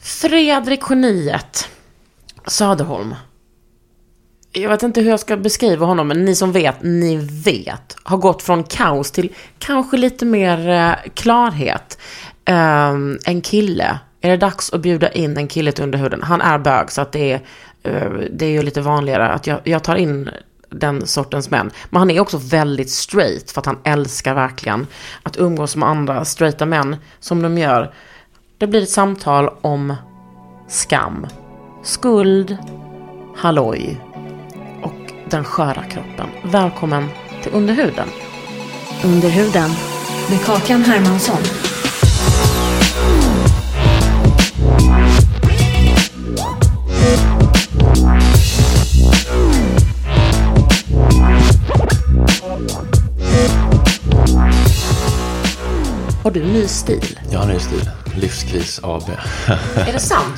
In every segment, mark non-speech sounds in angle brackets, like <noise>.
Fredrik Geniet Söderholm. Jag vet inte hur jag ska beskriva honom, men ni som vet, ni vet. Har gått från kaos till kanske lite mer eh, klarhet. Ehm, en kille. Är det dags att bjuda in en kille till underhuden? Han är bög, så att det, är, eh, det är ju lite vanligare att jag, jag tar in den sortens män. Men han är också väldigt straight, för att han älskar verkligen att umgås med andra straighta män, som de gör. Det blir ett samtal om skam, skuld, halloj och den sköra kroppen. Välkommen till Underhuden. Underhuden med Kakan Hermansson. Har du ny stil? Jag har en ny stil. Livskris AB. Är det <laughs> sant?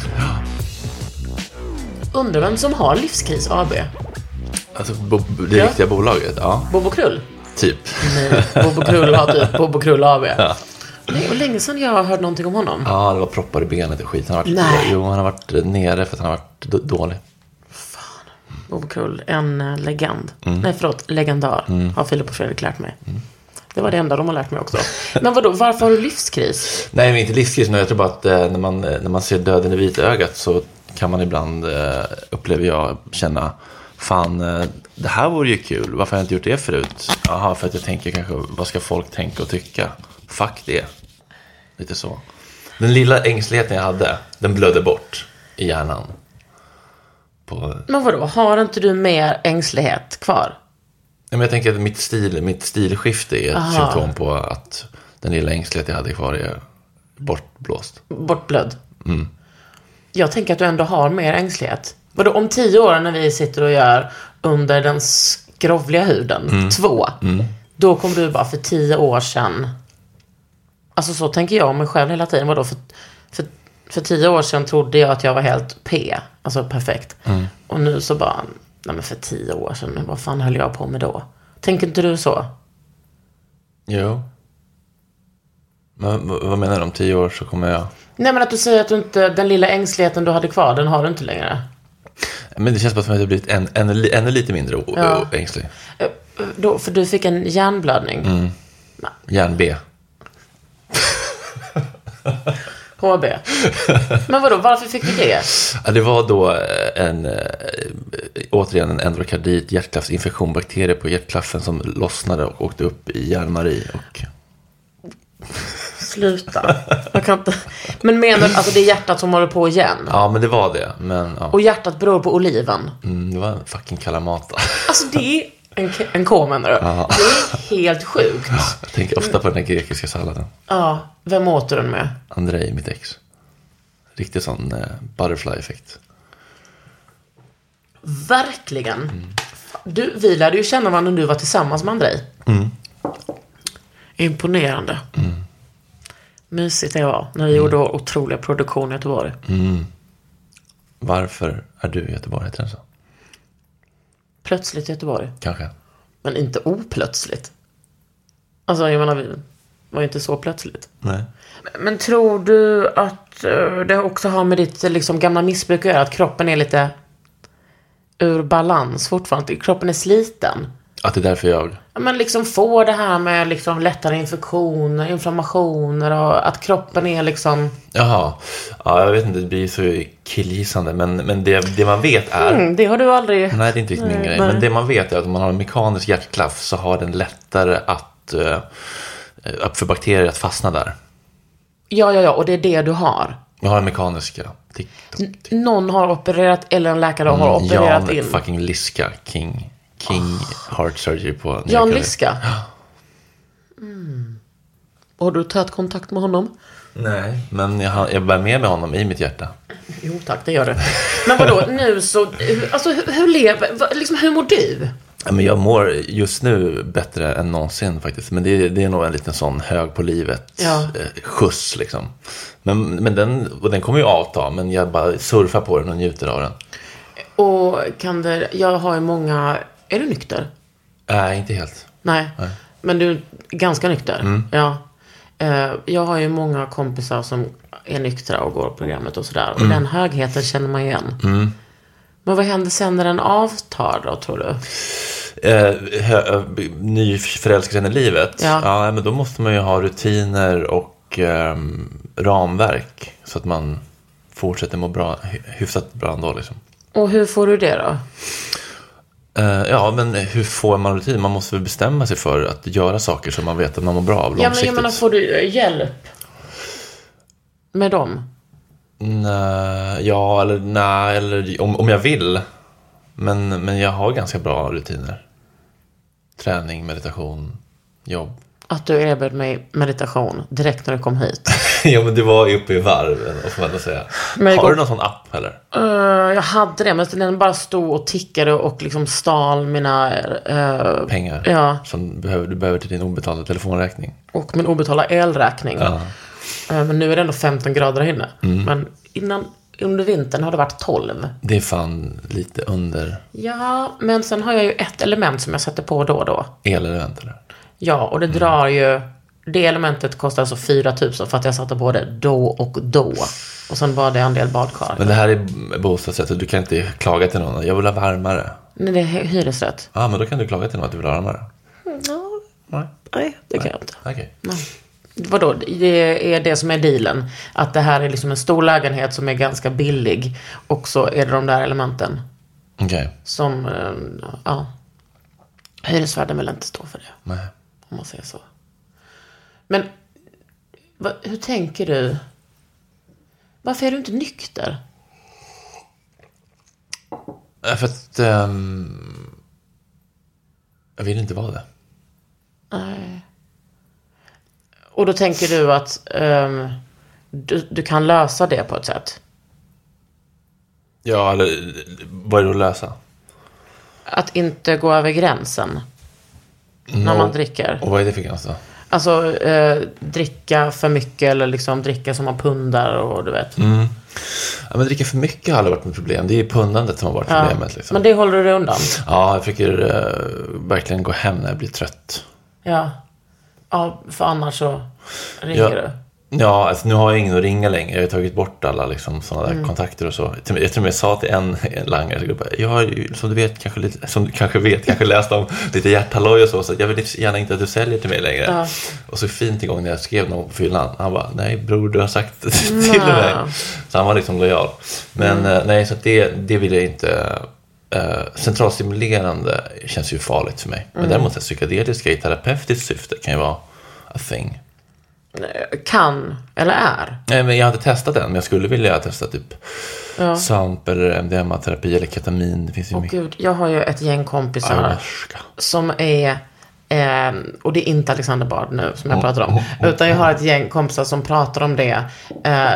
Undrar vem som har Livskris AB? <laughs> Alltså bo- det Ja. riktiga bolaget? Ja, Bobo Krull? typ. Nej, Bobo Krull har typ Bobo Krull AB. Det var länge sedan jag hörde någonting om honom. <laughs> Ja, det var proppar i benet och skit. Han har varit, Nej. Jo, han har varit nere för att han har varit d- dålig. Bobo Krull, en eh, legend. Nej, förlåt, legendar. Har Filip och Fredrik lärt mig. Det var det enda de har lärt mig också. Men vadå, varför har du livskris? Nej, men inte livskris. men Jag tror bara att eh, när man, eh, när man ser döden i vitögat så kan man ibland, eh, upplever jag, känna Fan, eh, det här vore ju kul. Varför har jag inte gjort det förut? Jaha, för att jag tänker kanske, vad ska folk tänka och tycka? Fuck det. Lite så. Den lilla ängsligheten jag hade, den blödde bort i hjärnan. På eh, Men vadå, har inte du mer ängslighet kvar? Ja, men jag tänker att mitt, stil, mitt stilskifte är ett Aha. symptom på att den lilla ängslighet jag hade kvar är bortblåst. Bortblödd? Jag tänker att du ändå har mer ängslighet. Vadå, om tio år när vi sitter och gör under den skrovliga huden, två, då kommer du bara för tio år sedan. Alltså så tänker jag om mig själv hela tiden. Vadå, för, för, för tio år sedan trodde jag att jag var helt P, alltså perfekt. Och nu så bara, nej men för tio år sedan, vad fan höll jag på med då? Tänker inte du så? Jo. Men v- vad menar du? Om tio år så kommer jag... Nej men att du säger att du inte, den lilla ängsligheten du hade kvar, den har du inte längre. Men det känns bara som att jag har blivit än- ännu li- ännu lite mindre o- Ja. o- ängslig. Eh, Då, för du fick en hjärnblödning. Järn-B. HB. Men vadå, varför fick du det? Ja, det var då eh, en, eh, återigen en endokardit, hjärtklaffsinfektion, bakterier på hjärtklaffen som lossnade och åkte upp i hjärnmari. Och... Sluta. Jag kan inte. Men menar du, alltså det är hjärtat som håller på igen? Ja, men det var det. Men ja. Och hjärtat beror på oliven? mm, det var en fucking kalamata. Alltså det är en, k- en K menar du? Det är helt sjukt. <laughs> Jag tänker ofta på den här grekiska salladen. Ja, vem åt du den med? Andrei, mitt ex. Riktigt sån eh, butterfly-effekt. Verkligen. Du, vi lärde ju känna varandra när du var tillsammans med Andrei. Imponerande. Mysigt det var när vi gjorde vår otroliga produktion i Göteborg. Varför är du i Göteborg? Heter den så? Plötsligt i Göteborg. Kanske. Men inte oplötsligt. Alltså jag menar, vi var ju inte så plötsligt. Nej. Men tror du att eh, det också har med ditt eh, liksom, gamla missbruk att göra? Att kroppen är lite ur balans fortfarande? Kroppen är sliten? Att det är därför jag... Ja, men liksom få det här med liksom lättare infektioner, inflammationer och att kroppen är liksom... Jaha. Ja, jag vet inte, det blir så killgissande. Men, men det, det man vet är... Mm, det har du aldrig... Nej, det är inte riktigt min grej. nej. Men det man vet är att om man har en mekanisk hjärtklaff så har den lättare att... eh, eh, för bakterier att fastna där. Ja, ja, ja, och det är det du har. Jag har en mekanisk, ja. Tick, tock, tick. Någon har opererat, eller en läkare Mm, har opererat Jan in. Ah. fucking Liska, King. King Heart Surgery på... Jan Liska. Har du tagit kontakt med honom? Nej, men jag, jag bär med mig honom i mitt hjärta. Jo tack, det gör <laughs> du. Men vadå, nu så... hur- Alltså hur, hur lever... vad- Liksom hur mår du? Ja, men jag mår just nu bättre än någonsin faktiskt. Men det, är- det är nog en liten sån hög på livet Ja. eh, skjuts liksom. Men, men den, och den kommer ju avta, men jag bara surfar på den och njuter av den. Och kan det... Jag har ju många... Är du nykter? Nej, inte helt. Nej. Mm. Men du är ganska nykter? Ja. Eh, Jag har ju många kompisar som är nyktra och går programmet och sådär. Och den högheten känner man igen. Men vad händer sen när den avtar då, tror du? Eh, hö, ny förälskelse i livet. Ja. men då måste man ju ha rutiner och ehm, ramverk. Så att man fortsätter må bra, hy- hyfsat bra ändå liksom. Och hur får du det då? Eh, Ja, men hur får man rutin? Man måste väl bestämma sig för att göra saker som man vet att man mår bra av Ja, men långsiktigt. jag menar, får du eh, hjälp? Med dem? Nej, Eh, ja, eller nej, eller om, om jag vill. Men, men jag har ganska bra rutiner. Träning, meditation, jobb. <laughs> Att du erbjöd mig meditation direkt när du kom hit. ja, men du var ju uppe i varven, och får man ändå säga. Men har igår- du någon sån app eller? Eh, jag hade det, men den bara stod och tickade och liksom stal mina... eh, Pengar Ja. som du behöver, du behöver till din obetalda telefonräkning. och min obetalda elräkning. Eh, men nu är det ändå 15 grader här inne. Men innan, under vintern har det varit 12. Det är fan lite under Ja, men sen har jag ju ett element som jag sätter på då och då. elevent eller? Ja, och det drar ju... Det elementet kostar alltså 4 000 för att jag satte på det då och då. Och sen var det en del badkar. Men det här är bostadsrätt och du kan inte klaga till någon. Jag vill ha varmare. Nej, det är hy- hyresrätt. Ja, ah, men då kan du klaga till någon att du vill ha varmare. Mm, Nej. Nej, det kan jag inte. Okej. Vadå, det är det som är dealen. Att det här är liksom en stor lägenhet som är ganska billig. Och så är det de där elementen Okej. som, eh, ja. Hyresvärden vill inte stå för det, Nej. om man säger så. Men, va, hur tänker du? Varför är du inte nykter? Nej, För att... ehm, jag vill inte vara det. Och då tänker du att ehm, du, du kan lösa det på ett sätt. Ja, eller vad är det att lösa? Att inte gå över gränsen när man dricker. Och vad är det för gräns då? Alltså eh, dricka för mycket eller liksom dricka som man pundar och du vet. Ja, men dricka för mycket har aldrig varit mitt problem. Det är ju pundandet som har varit problemet. Liksom. Men det håller du dig undan. Ja, jag försöker eh, verkligen gå hem när jag blir trött. Ja. ja, för annars så ringer Ja. du. Ja, alltså nu har jag ingen att ringa längre. Jag har ju tagit bort alla liksom, sådana där kontakter och så. Jag tror jag till och med sa till en, en langare, jag bara, jag har ju, som du vet, kanske, lite, som du kanske vet, kanske läst om lite hjärthalloj och så, så jag vill gärna inte att du säljer till mig längre. Och så fint igång när jag skrev någon på fyllan, han bara, nej bror, du har sagt <laughs> det till mig. Så han var liksom lojal. Men eh, nej, så att det, det vill jag inte. eh, centralstimulerande känns ju farligt för mig. Men däremot så här, psykedeliska i terapeutiskt syfte kan ju vara a thing. Kan eller är. Nej, men jag har inte testat den, men jag skulle vilja testa typ svamp eller MDMA-terapi eller ketamin. Det finns ju Åh mycket. gud, jag har ju ett gäng kompisar Ayahuasca. som är Eh, och det är inte Alexander Bard nu som jag pratar om. Utan jag har ett gäng kompisar som pratar om det. Eh,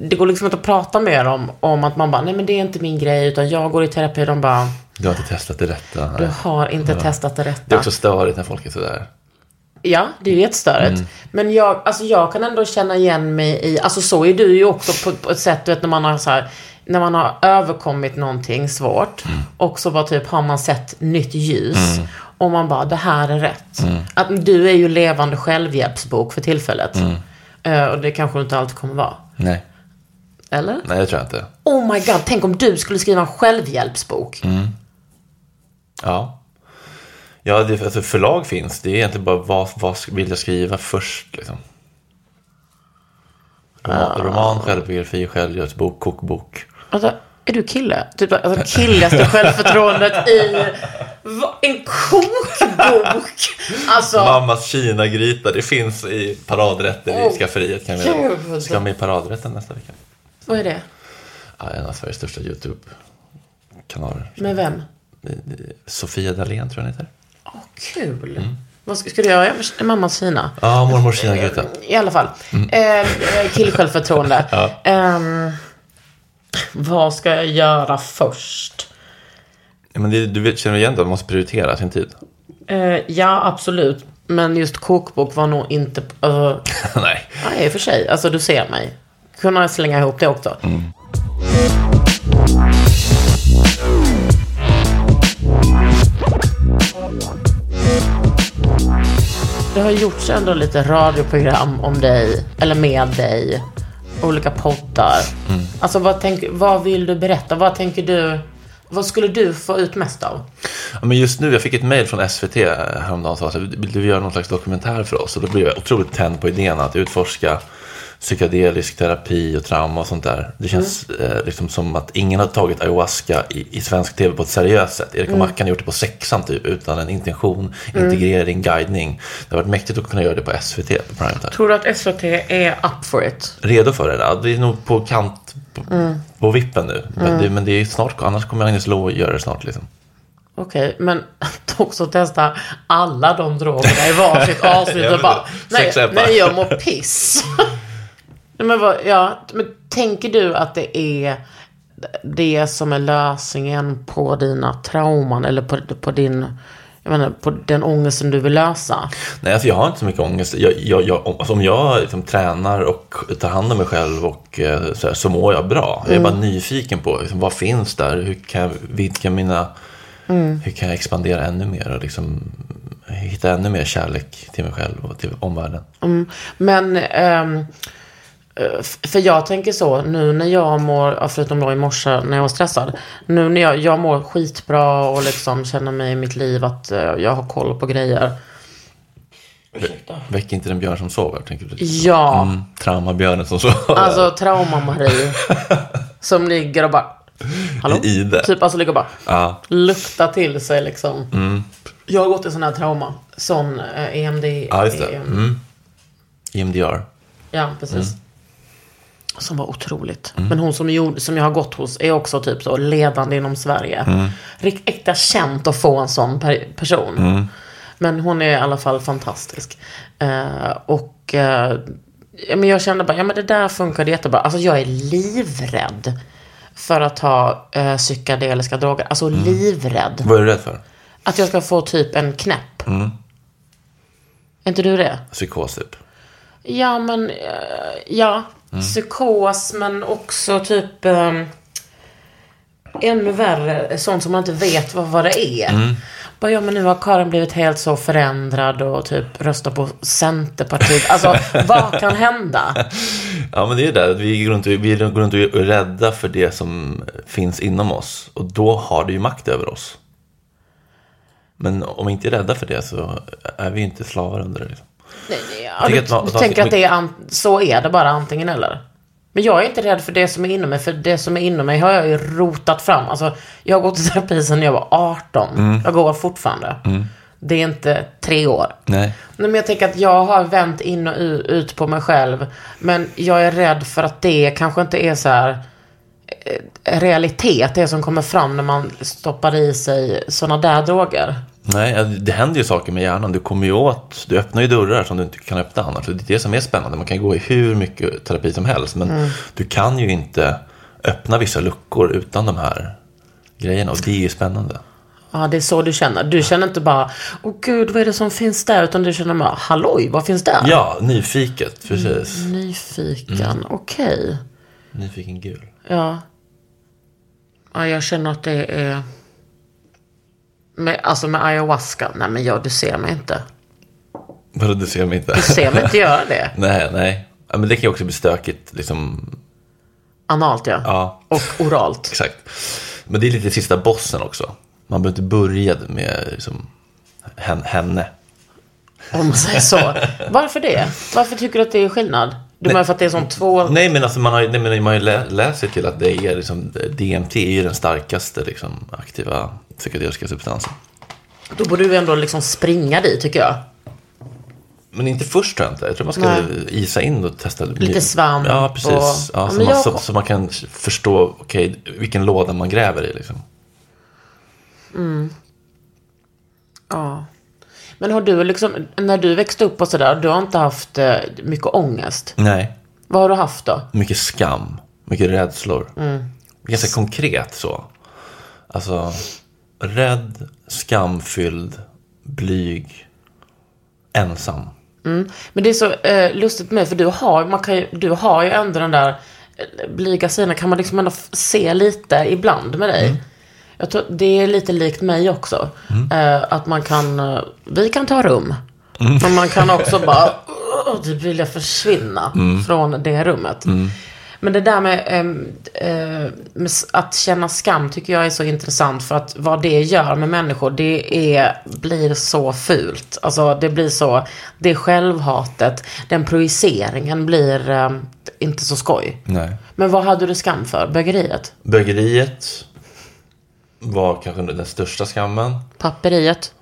det går liksom inte att prata med dem om att man bara, nej men det är inte min grej utan jag går i terapi. De bara, Du har inte testat det rätta. Du har inte testat det rätta. Det är också störigt när folk är sådär. Ja, det är ju jättestörigt. Men jag, alltså jag kan ändå känna igen mig i, alltså så är du ju också på, på ett sätt, du vet när man har så här, när man har överkommit någonting svårt och så bara typ har man sett nytt ljus och man bara, det här är rätt. Att du är ju levande självhjälpsbok för tillfället. Eh, och det kanske inte alltid kommer vara. Nej. Eller? Nej, det tror jag inte. Oh my god, tänk om du skulle skriva en självhjälpsbok. Ja. Ja, det, alltså förlag finns. Det är egentligen bara vad, vad vill jag skriva först liksom. Ah. Roman, roman självbiografi, självhjälpsbok, kokbok. Alltså, är du kille? Typ alltså, killigaste självförtroendet i va, en kokbok. Alltså, Mammas kinagryta, det finns i paradrätter i Åh, skafferiet. Kan vi, gud. ska med i paradrätten nästa vecka. vad är det? Ja, en av Sveriges största YouTube-kanaler. Med vem? Sofia Dalén tror jag hon heter. Åh, kul. Mm. Vad ska, ska du göra? Mammas fina. Ja, mormors kinagryta. I alla fall. Eh, eh, <laughs> killsjälvförtroende. Ehm, vad ska jag göra först? Ja, Men det, du vet, känner igen det, man måste prioritera sin tid. <laughs> Eh, ja, absolut. Men just kokbok var nog inte... Uh, Nej. nej, i och för sig. Alltså, du ser mig. Kunna slänga ihop det också. Det har gjorts ändå lite radioprogram om dig, eller med dig. Olika poddar. Alltså, vad, tänk, vad vill du berätta? Vad tänker du... Vad skulle du få ut mest av? Ja, men just nu, jag fick ett mejl från SVT eh, häromdagen som sa att vill du göra någon slags dokumentär för oss? Och då blev jag otroligt tänd på idén att utforska psykedelisk terapi och trauma och sånt där. Det känns eh, liksom som att ingen har tagit ayahuasca i, i svensk tv på ett seriöst sätt. Erik och Mackan har gjort det på sexan typ, utan en intention, integrering, guidning. Det har varit mäktigt att kunna göra det på SVT, på primetime. Tror du att SVT är up for it? redo för det. där. Det är nog på kant, på, på vippen nu. Men, det, men det är snart, annars kommer Agnes Lo göra det snart. Liksom. Okej, men <laughs> att också testa alla de drogerna i varsitt avsnitt och bara, Ja, nej, sex appar. nej jag mår piss. <laughs> Nej, men, vad, ja, men tänker du att det är det som är lösningen på dina trauman eller på, på din, jag menar, på den ångesten du vill lösa? Nej, alltså jag har inte så mycket ångest. Jag, jag, jag, om- alltså om jag liksom tränar och tar hand om mig själv och eh, så, här, så mår jag bra. Jag är Mm. bara nyfiken på liksom, vad finns där? Hur kan jag vidga mina... Mm. Hur kan jag expandera ännu mer och liksom, hitta ännu mer kärlek till mig själv och till omvärlden? Mm, men, ehm, eh, f- för jag tänker så, nu när jag mår, ja, förutom då i morse när jag var stressad, nu när jag, jag mår skitbra och liksom känner mig i mitt liv att eh, jag har koll på grejer. Väck inte den björn som sover, tänker du? Ja, Mm, traumabjörnen som sover. alltså <laughs> trauma-Marie som ligger och bara, hallå? I det. Typ alltså ligger och bara, Ja. Mm. luktar till sig liksom. Jag har gått i sån här trauma, sån eh, EMD. Ja, just det. EM. Mm. EMDR. Ja, precis. Som var otroligt. Men hon som, gjorde, som jag har gått hos är också typ så ledande inom Sverige. Mm. Äkta känt att få en sån per, person. Men hon är i alla fall fantastisk. Eh, och eh, ja, men jag kände bara, ja men det där funkade jättebra. Alltså jag är livrädd för att ta eh, psykedeliska droger. Alltså livrädd. Vad är du rädd för? Att jag ska få typ en knäpp. Är inte du det? Psykos typ? Ja, men eh, ja. Psykos, men också typ eh, ännu värre, sånt som man inte vet vad, vad det är. Bara, ja, men nu har Karin blivit helt så förändrad och typ röstar på Centerpartiet. Alltså, vad kan hända? Ja, men det är det. Vi går runt, vi går runt och är rädda för det som finns inom oss. Och då har det ju makt över oss. Men om vi inte är rädda för det så är vi inte slavar under det. Liksom. Ja, du tänker att man- du tänker att det är, an- så är det bara antingen eller? Men jag är inte rädd för det som är inom mig, för det som är inom mig har jag ju rotat fram. Alltså, jag har gått i terapi sedan jag var 18. Jag går fortfarande. Det är inte tre år. Nej. Nej, men jag tänker att jag har vänt in och u- ut på mig själv. Men jag är rädd för att det kanske inte är så här eh, realitet, det som kommer fram när man stoppar i sig sådana där droger. Nej, ja, det händer ju saker med hjärnan. Du kommer ju åt, du öppnar ju dörrar som du inte kan öppna annars. Det är det som är spännande. Man kan gå i hur mycket terapi som helst. Men du kan ju inte öppna vissa luckor utan de här grejerna. Och det är ju spännande. Ja, det är så du känner. Du känner inte bara, åh gud, vad är det som finns där? Utan du känner bara, halloj, vad finns där? Ja, nyfiket. Precis. Mm. Nyfiken, okej. Nyfiken gul. Ja. ja. Jag känner att det är... Med, alltså med ayahuasca, nej men jag, du ser mig inte. Vadå, du ser mig <laughs> inte? Du ser mig inte göra det. nej, nej. Ja, men det kan ju också bli stökigt. Liksom. Analt ja. Ja, Och oralt. exakt. Men det är lite sista bossen också. Man behöver inte börja med liksom, hen- henne. Om man säger så. Varför det? Varför tycker du att det är skillnad? Du menar för att det är som två... Nej men alltså man har ju, nej, men man har ju lä- läst sig till att det är liksom, DMT är ju den starkaste liksom, aktiva psykedeliska substansen. Då borde du ändå liksom springa dit, tycker jag. Men inte först tror jag inte. Jag tror man ska Nej. isa in och testa. Lite svamp Ja, precis. och- Ja, Ja, så, men man, jag- så, så man kan förstå okej, vilken låda man gräver i. Liksom. Ja. Men har du liksom, när du växte upp och sådär, du har inte haft eh, mycket ångest. Nej, Vad har du haft då? mycket skam, mycket rädslor. Mm. Ganska konkret så. Alltså, rädd, skamfylld, blyg, ensam. Men det är så eh, lustigt med, för du har, man kan ju, du har ju ändå den där eh, blyga sidan, kan man liksom ändå f- se lite ibland med dig. Jag tror, det är lite likt mig också. Eh, att man kan, eh, vi kan ta rum. Men man kan också bara, <laughs> "Åh, typ vill jag försvinna från det rummet. Men det där med, ehm, eh, med s- att känna skam tycker jag är så intressant för att vad det gör med människor det är, blir så fult. Alltså det blir så, det självhatet, den projiceringen blir ehm, inte så skoj. Nej. Men vad hade du skam för? Bögeriet? Bögeriet var kanske den största skammen. Papperiet?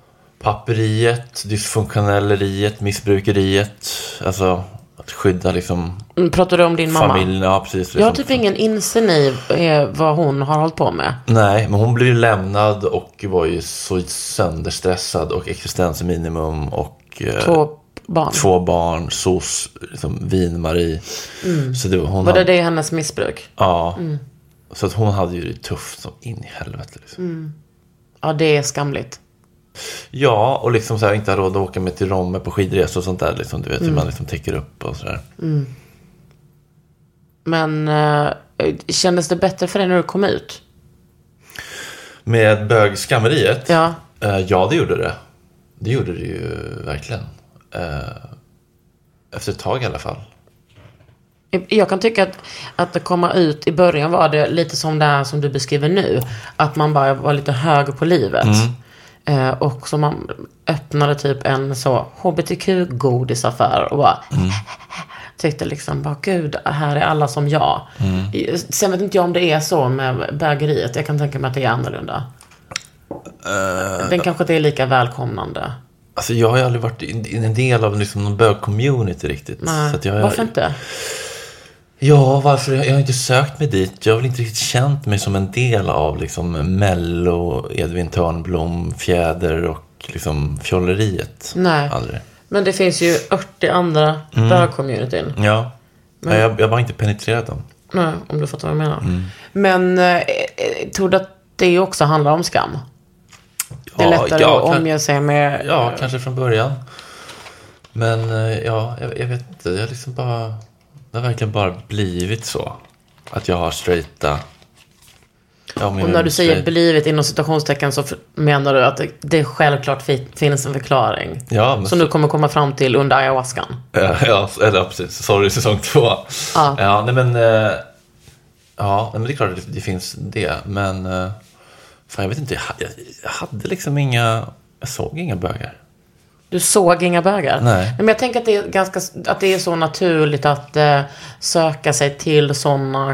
Papperiet, dysfunktionelleriet, missbrukeriet. Alltså att skydda liksom Mm, Pratar du om din mamma? familjen. Ja, precis. Jag har liksom. typ ingen insyn i eh, vad hon har hållit på med. Nej, men hon blev ju lämnad och var ju så sönderstressad och existensminimum och eh, Två barn. två barn, SOS, liksom vin-Marie. Så det, var- hon Var Mm. det Mm. hade, det hennes missbruk? Ja. Så att hon hade ju det tufft som in i helvete. Liksom. Ja, det är skamligt. Ja, och liksom så här, inte ha råd att åka med till Romme på skidresor och sånt där. Liksom, du vet Mm. hur man liksom täcker upp och sådär. Men eh, kändes det bättre för dig när du kom ut? Med bögskammeriet? Ja. Eh, ja, det gjorde det. Det gjorde det ju verkligen. Eh, efter ett tag i alla fall. Jag kan tycka att, att komma ut i början var det lite som det här som du beskriver nu. Att man bara var lite hög på livet. Mm. Eh, och så man öppnade typ en så hbtq-godisaffär och bara Mm. tyckte liksom bara gud, här är alla som jag. Mm. Sen vet inte jag om det är så med bögeriet. Jag kan tänka mig att det är annorlunda. Eh, Den kanske inte är lika välkomnande. Alltså jag har ju aldrig varit in- in- en del av liksom någon bög-community riktigt. Nej, Så att jag, har- Varför inte? Ja, varför? Jag har inte sökt mig dit. Jag har väl inte riktigt känt mig som en del av liksom Mello, Edvin Törnblom, Fjäder och liksom fjolleriet. Nej. Aldrig. Men det finns ju 80 andra Mm. bög-communityn. Ja. Nej, jag, jag har bara inte penetrerat dem. Nej, om du fattar vad jag menar. Mm. Men eh, eh, tror du att det också handlar om skam? Det är Ja, lättare ja, att kan- omge sig med... Ja, kanske från början. Men eh, ja, jag, jag vet inte. Jag har liksom bara... Det har verkligen bara blivit så. Att jag har straighta... Ja, men jag Och när är du säger straight- blivit inom citationstecken så f- menar du att det, det självklart fi- finns en förklaring. Ja, men Som du kommer komma fram till under ayahuascan. Ja, ja, eller ja, precis. Sorry, säsong två. Ja. ja nej men... eh, Ja, nej, men det är klart att det, det finns det. Men... eh, Fan, jag vet inte. Jag, ha- jag, jag hade liksom inga... Jag såg inga bögar. Du såg inga bögar? Nej. Men jag tänker att det är, ganska, att det är så naturligt att eh, söka sig till sådana...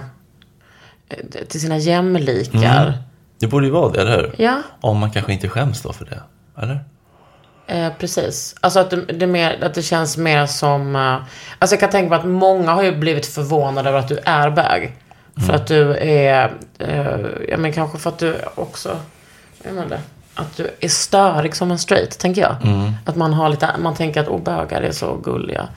eh, Till sina jämlikar. Mm. Det borde ju vara det, eller hur? Ja. Om man kanske inte skäms då för det. Eller? Eh, precis. Alltså att det, det är mer, att det känns mer som... Eh, alltså jag kan tänka mig att många har ju blivit förvånade över att du är bög. För att du är... Eh, ja men kanske för att du också... Jag menar det. Att du är störig som en straight, tänker jag. Att man har lite... Man tänker att oh, bögar är så gulliga.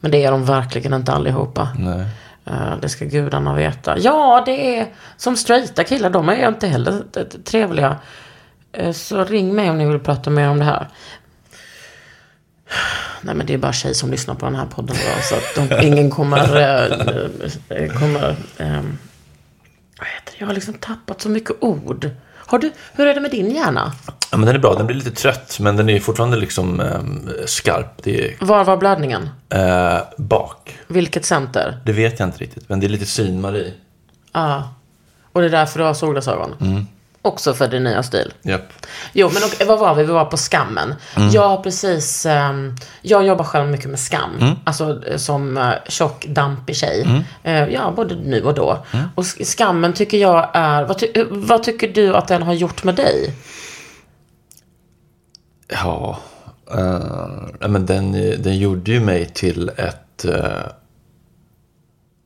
Men det är de verkligen inte allihopa. Nej. Eh, Det ska gudarna veta. Ja, det är som straighta killar, de är ju inte heller t- t- trevliga. Eh, Så ring mig om ni vill prata mer om det här. Nej men det är bara tjejer som lyssnar på den här podden då, så att de, ingen kommer... eh, eh, kommer ehm, vad heter det? Jag har liksom tappat så mycket ord. Har du, hur är det med din hjärna? Ja, men den är bra. Den blir lite trött, men den är fortfarande liksom ehm, skarp. Det är Var var blödningen? eh, bak. Vilket center? Det vet jag inte riktigt, men det är lite synmarie. Ja. Och det är därför du har solglasögon? Också för din nya stil. Japp. Jo, men och, vad var vi? Vi var på skammen. Mm. Jag har precis, ehm, jag jobbar själv mycket med skam. Mm. Alltså eh, som eh, tjock, dampig tjej. Eh, ja, både nu och då. Mm. Och sk- skammen tycker jag är, vad, ty, eh, vad tycker du att den har gjort med dig? Ja, eh, nej, men den, den gjorde ju mig till ett, eh,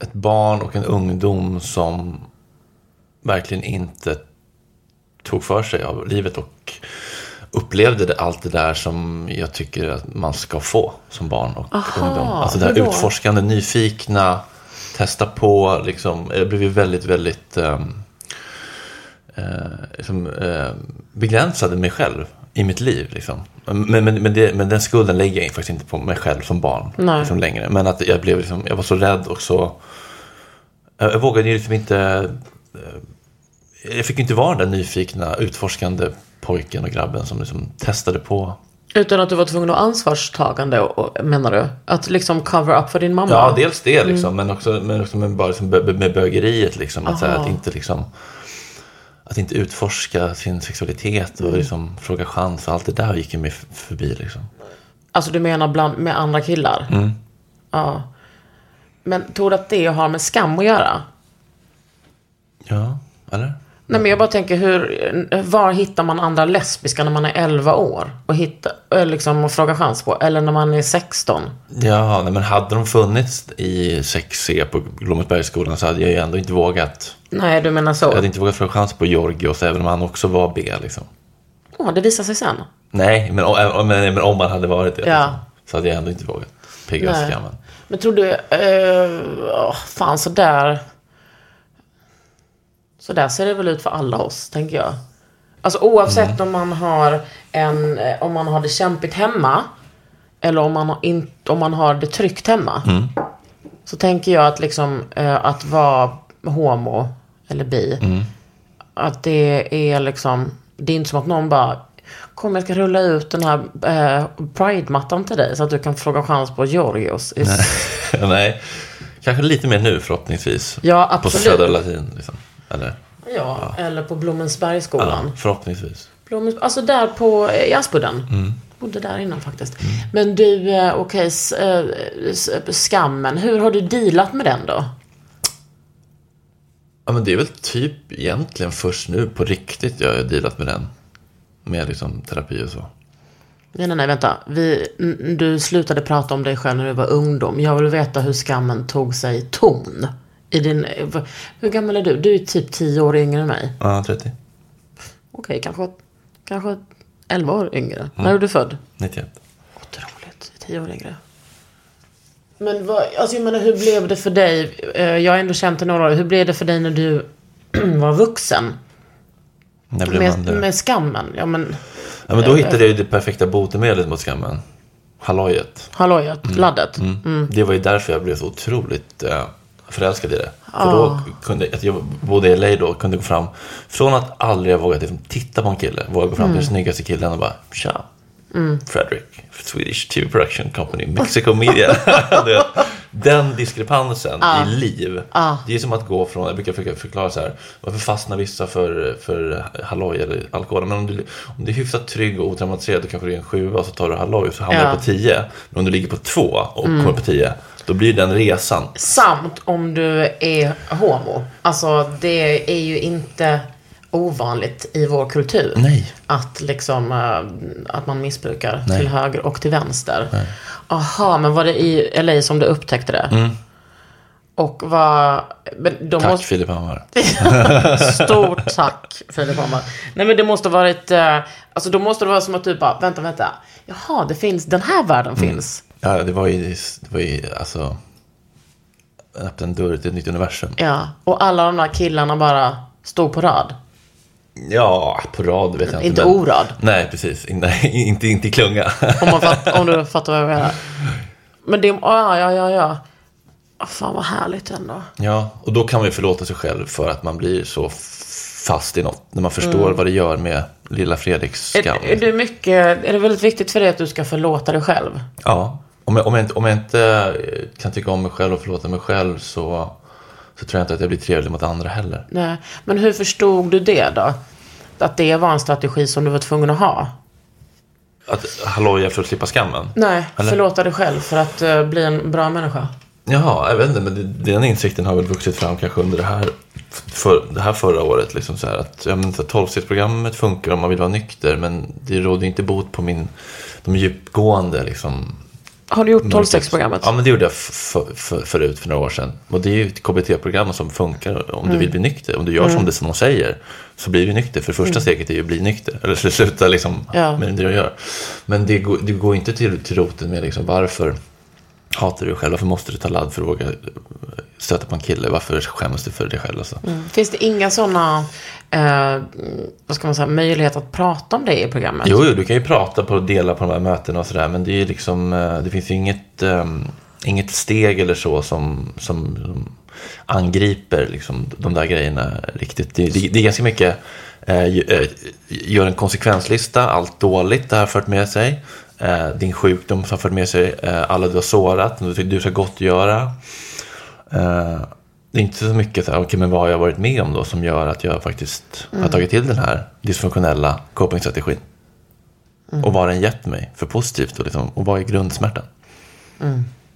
ett barn och en ungdom som verkligen inte tog för sig av livet och upplevde det, allt det där som jag tycker att man ska få som barn och ungdom. Alltså det här hur då? utforskande, nyfikna, testa på, liksom. Jag blev ju väldigt, väldigt ehm, liksom, eh, begränsade mig själv i mitt liv. Liksom. Men, men, men, det, men den skulden lägger jag faktiskt inte på mig själv som barn Nej. liksom, längre. Men att jag, blev, liksom, jag var så rädd och så... Jag, jag vågade ju liksom inte... eh, Jag fick ju inte vara den där nyfikna, utforskande pojken och grabben som liksom testade på. Utan att du var tvungen att vara ansvarstagande, och, och, menar du? Att liksom cover up för din mamma? Ja, dels det liksom, Mm. men också, men också med, bara liksom, bö- med bögeriet. Liksom, att, så här, Aha. att, inte, liksom, att inte utforska sin sexualitet Mm. och liksom, fråga chans. Allt det där gick ju mig f- förbi. Liksom. Alltså du menar bland, med andra killar? Mm. Ja. Men tror du att det har med skam att göra? Ja, eller? Nej men jag bara tänker hur, var hittar man andra lesbiska när man är 11 år? Och hitta, eh, liksom och fråga chans på. Eller när man är 16? Ja, nej, men hade de funnits i 6C på Blommensbergsskolan så hade jag ju ändå inte vågat. Nej, du menar så? Jag Ja, hade inte vågat fråga chans på Georgios även om han också var B. Liksom. det visar sig sen. Nej, men, om- men, men om han hade varit det. Ja. Liksom, så hade jag ändå inte vågat. Pigga upp Nej. skammen. Men tror du, eh, åh, fan sådär. Så där ser det väl ut för alla oss, tänker jag. Alltså oavsett om man har en, eh, om man har det kämpigt hemma. Eller om man har, in, om man har det tryggt hemma. Så tänker jag att liksom, eh, att vara homo eller bi. Att det är liksom, det är inte som att någon bara, kom jag ska rulla ut den här eh, pride-mattan till dig så att du kan fråga chans på Georgios. i nej, kanske lite mer nu förhoppningsvis. Ja, På absolut. Södra Latin. Liksom. Eller? Ja, eller på Blommensbergsskolan. Ja, förhoppningsvis. Blommens, alltså där på eh, i Aspudden. Bodde där innan faktiskt. Men du, eh, okej, s- eh, s- skammen. Hur har du dealat med den då? Ja, men det är väl typ egentligen först nu på riktigt jag har dealat med den. Med liksom terapi och så. Nej, nej, nej, vänta. Vi, n- du slutade prata om dig själv när du var ungdom. Jag vill veta hur skammen tog sig ton. I din, eh, v- hur gammal är du? Du är typ 10 år yngre än mig. Ja, 30. Okej, kanske, kanske 11 år yngre. När är du född? 91. Otroligt. Tio år längre. Men vad, alltså jag menar, hur blev det för dig? Eh, Jag har ändå känt dig några år. Hur blev det för dig när du <clears throat> var vuxen? När blev man Med, det? med skammen? Ja men, Ja, men då hittade jag ju det perfekta botemedlet mot skammen. Hallojet. hallojat, Mm. laddet. Det var ju därför jag blev så otroligt eh, förälskad i det. För då kunde, att jag bodde i LA då, kunde gå fram. Från att aldrig ha vågat liksom, titta på en kille, vågade gå fram Mm. till den snyggaste killen och bara tja. Fredrik, Swedish TV Production Company, Mexico Media. <laughs> Du vet, den diskrepansen i liv. Det är som att gå från, jag brukar försöka förklara så här, varför fastnar vissa för, för halloj eller alkohol? Men om du, om du är hyfsat trygg och otraumatiserad, då kanske du är en sjua och så tar du halloj och så hamnar Ja. Mm. du på 10. Men om du ligger på 2 och kommer på 10, då blir den resan. Samt om du är homo. Alltså det är ju inte ovanligt i vår kultur. Nej. Att liksom, eh, att man missbrukar Nej. till höger och till vänster. Aha, men var det i LA som du upptäckte det? Och vad... Men de Mm. Tack måste, Filip Hammar. Stort tack Filip Hammar. Nej men det måste ha varit, eh, alltså då måste det vara som att du bara, vänta, vänta. Jaha, det finns, den här världen finns. Ja, det var ju, det var ju alltså, en öppen dörr till ett nytt universum. Ja, och alla de där killarna bara stod på rad. Ja, på rad vet jag inte. Inte orad. Nej, precis. In, nej, <laughs> inte, inte i klunga. Om, man fatt, om du fattar vad jag menar. Men det, ja, ja, ja, ja. Ah, Fan vad härligt ändå. ja, och då kan man ju förlåta sig själv för att man blir så fast i något. När man förstår vad det gör med lilla Fredriks Mm. Är, skam. är, du mycket, är det väldigt viktigt för dig att du ska förlåta dig själv? Ja, om jag, om, jag inte, om jag inte eh, kan tycka om mig själv och förlåta mig själv så, så tror jag inte att jag blir trevlig mot andra heller. Nej. Men hur förstod du det då? att det var en strategi som du var tvungen att ha? Att halloja för att slippa skammen? Nej, Eller? förlåta dig själv för att eh, bli en bra människa. Jaha, jag vet inte, men det- den insikten har väl vuxit fram kanske under det här, för, det här förra året. Liksom så här, att, ja, men, så här, 12-stegsprogrammet funkar om man vill vara nykter, men det råder inte bot på min, de djupgående liksom, Har du gjort 12-stegsprogrammet? Ja, men det gjorde jag f- f- f- förut för några år sedan. Och det är ju ett KBT-program som funkar om du vill bli Mm. nykter. Om du gör som det som de säger så blir du nykter. För första steget är ju att bli nykter. Eller sl- sluta liksom Ja. med det du gör. Men det går, det går inte till, till roten med liksom, varför hatar du dig själv? Varför måste du ta ladd för att våga stöta på en kille? Varför skäms du för dig själv? Alltså? Mm. Finns det inga sådana, eh, vad ska man säga, möjlighet att prata om det i programmet? Jo, jo, du kan ju prata på och dela på de här mötena och sådär. Men det, är ju liksom, eh, det finns ju inget, eh, inget steg eller så som, som, som angriper liksom, de där grejerna riktigt. Det, det, det är ganska mycket, eh, ju- eh, gör en konsekvenslista, allt dåligt det här har fört med sig. Eh, din sjukdom som har fört med sig, eh, alla du har sårat, du, du ska gottgöra. Eh, det är inte så mycket så här, okej, men vad har jag varit med om då som gör att jag faktiskt har tagit till den här dysfunktionella copingstrategin? Och vad har den gett mig för positivt och, liksom, och vad är grundsmärtan?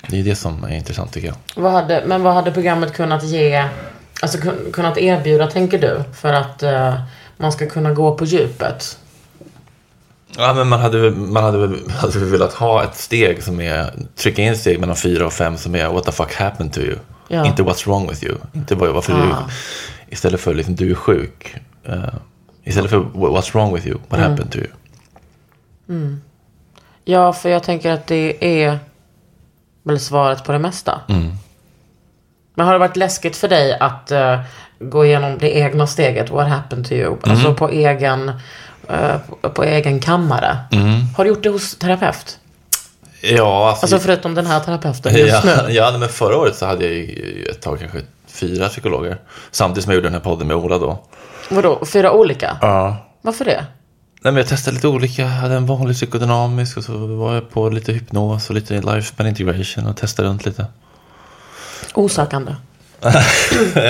Det är det som är intressant tycker jag. Vad hade, men vad hade programmet kunnat ge, alltså kun, kunnat erbjuda tänker du? För att eh, man ska kunna gå på djupet. Ja, men man hade, väl- man hade, väl- hade väl velat ha ett steg som är, trycka in steg mellan fyra och fem som är what the fuck happened to you? Ja. Inte what's wrong with you? Inte vad, varför du, istället för liksom, du är sjuk. eh, istället för what's wrong with you? What happened to you? Ja, för jag tänker att det är väl svaret på det mesta. Mm. Men har det varit läskigt för dig att eh, gå igenom det egna steget, what happened to Mm. you? Alltså på egen, eh, på, på egen kammare. Mm. Har du gjort det hos terapeut? Ja, alltså, Alltså förutom den här terapeuten just nu. <laughs> Ja, ja, nej, men förra året så hade jag ju ett tag kanske fyra psykologer. Samtidigt som jag gjorde den här podden med Ola då. Vadå, fyra olika? Ja. Varför det? Nej, men jag testade lite olika. Jag hade en vanlig psykodynamisk och så var jag på lite hypnos och lite lifespan integration och testade runt lite. <laughs> Osökande.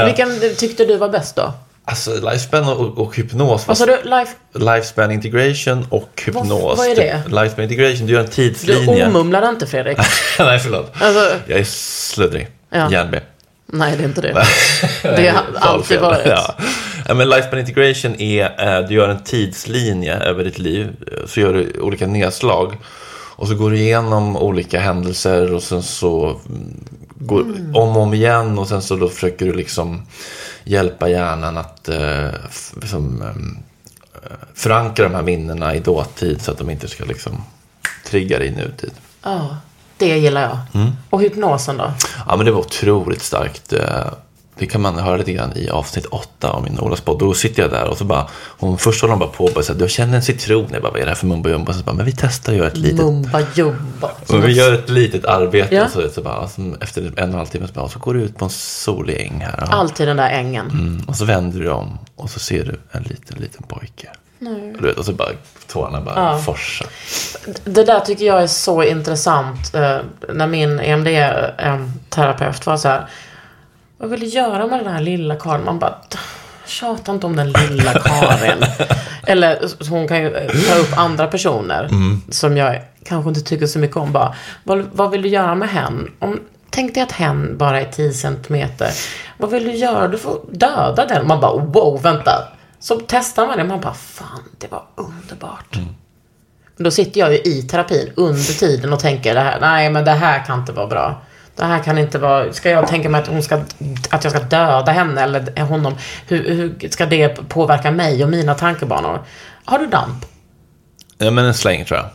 Vilken tyckte du var bäst då? Alltså lifespan och, och hypnos. var- Vad sa du? Life... Lifespan integration och hypnos. Typ, vad är det? Lifespan integration, du gör en Du tidslinje. omumlade inte Fredrik? <laughs> nej, förlåt. Alltså- Jag är sluddrig. Ja. Hjärnbe. Nej, det är <laughs> inte det. Det har Talfel. alltid varit. Ja. Ja, men lifespan integration är, eh, du gör en tidslinje över ditt liv, eh, så gör du olika nedslag och så går du igenom olika händelser och sen så mm, går om och om igen och sen så då försöker du liksom hjälpa hjärnan att eh, f- liksom, eh, förankra de här minnena i dåtid så att de inte ska liksom trigga dig i nutid. Ja, det gillar jag. Mm. Och hypnosen då? Ja, men det var otroligt starkt. Eh, Det kan man höra lite grann i avsnitt åtta av min Olas podd. Då sitter jag där och så bara, hon, först håller hon bara på och bara så här, jag känner en citron. Jag bara, vad är det här för mumbo jumbo? Sen så bara, men vi testar att göra ett litet, Mumba jumba. men vi gör ett litet arbete. Ja. Och så, så bara, som efter en och en halv timme så, bara, så går du ut på en solig äng här. Ja. Alltid den där ängen. Mm, och så vänder du dig om och så ser du en liten, liten pojke. Du vet, och så bara tårna bara forsar. Det där tycker jag är så intressant. eh, när min EMD-terapeut eh, var så här. Vad vill du göra med den här lilla Karin? Man bara. Tjata inte om den lilla Karin. Eller så hon kan ju eh, ta upp andra personer. Som jag kanske inte tycker så mycket om. Bara, vad, vad vill du göra med hen? Om, tänk dig att hen bara är 10 centimeter. Vad vill du göra? Du får döda den. Man bara wow, vänta. Så testar man det. Man bara fan, det var underbart. Men Då sitter jag ju i terapin under tiden och tänker det här, nej men det här kan inte vara bra. Det här kan inte vara, ska jag tänka mig att, hon ska, att jag ska döda henne eller honom? Hur, hur ska det påverka mig och mina tankebanor? Har du damp? Ja, men en släng tror jag.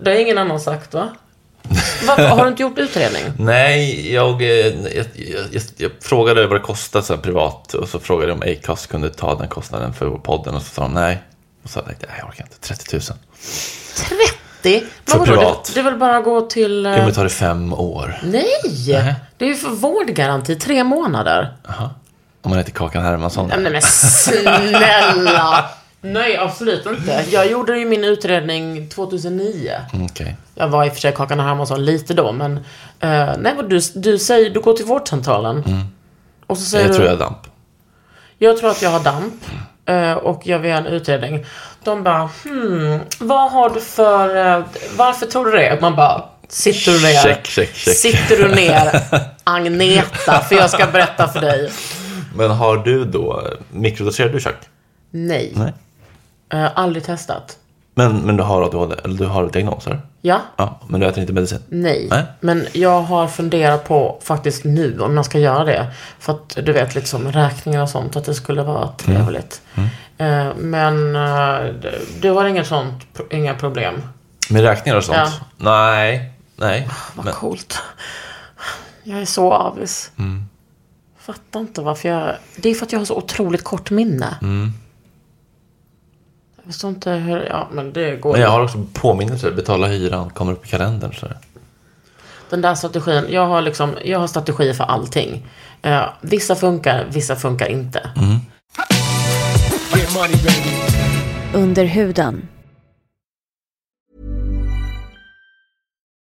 Det har ingen annan sagt va? <laughs> Varför, har du inte gjort utredning? Nej, jag, eh, jag, jag, jag, jag frågade vad det kostade så här, privat och så frågade jag om Acast kunde ta den kostnaden för podden och så sa de nej. Och så tänkte jag, jag orkar inte, 30 000. 30? Men För vadå, det, privat. det är väl bara att gå till... eh, Jo, men det tar det fem år. Nej! Det är ju för vårdgaranti, tre månader. Om man heter Kakan Hermansson. Nej men snälla! Nej, absolut inte. Jag gjorde ju min utredning 2009. Okej. Jag var i och för sig Kakan och Hermansson lite då, men... eh, nej, vad du, du säger, du går till vårdcentralen. Och så säger Mm. Jag du, tror jag är damp. jag tror att jag har damp. eh, och jag vill göra en utredning. De bara, hmm, vad har du för, eh, varför tog du det? Man bara, sitter du ner? Check, check, check. Sitter du <laughs> ner, Agneta, för jag ska berätta för dig. Men har du då, mikrodoserar du Chuck? Nej, Nej. Eh, aldrig testat. Men, men du har ADHD, eller du har diagnoser? Ja, Ja, men du äter inte medicin? Nej. Nej. men jag har funderat på faktiskt nu om jag ska göra det. För att du vet, liksom räkningar och sånt, att det skulle vara trevligt. Eh, Men eh, det- du har inget sånt, pro- inga problem? Med räkningar och sånt? Ja. Nej, nej. Men, Coolt. Jag är så avis. Fattar inte varför jag... Det är för att jag har så otroligt kort minne. Jag förstår inte hur... Ja, men det går men jag ju. har också påminnelser, betala hyran, kommer upp i kalendern. Så. där. Den där strategin, jag har liksom, jag har strategier för allting. Eh, vissa funkar, vissa funkar inte. Under huden.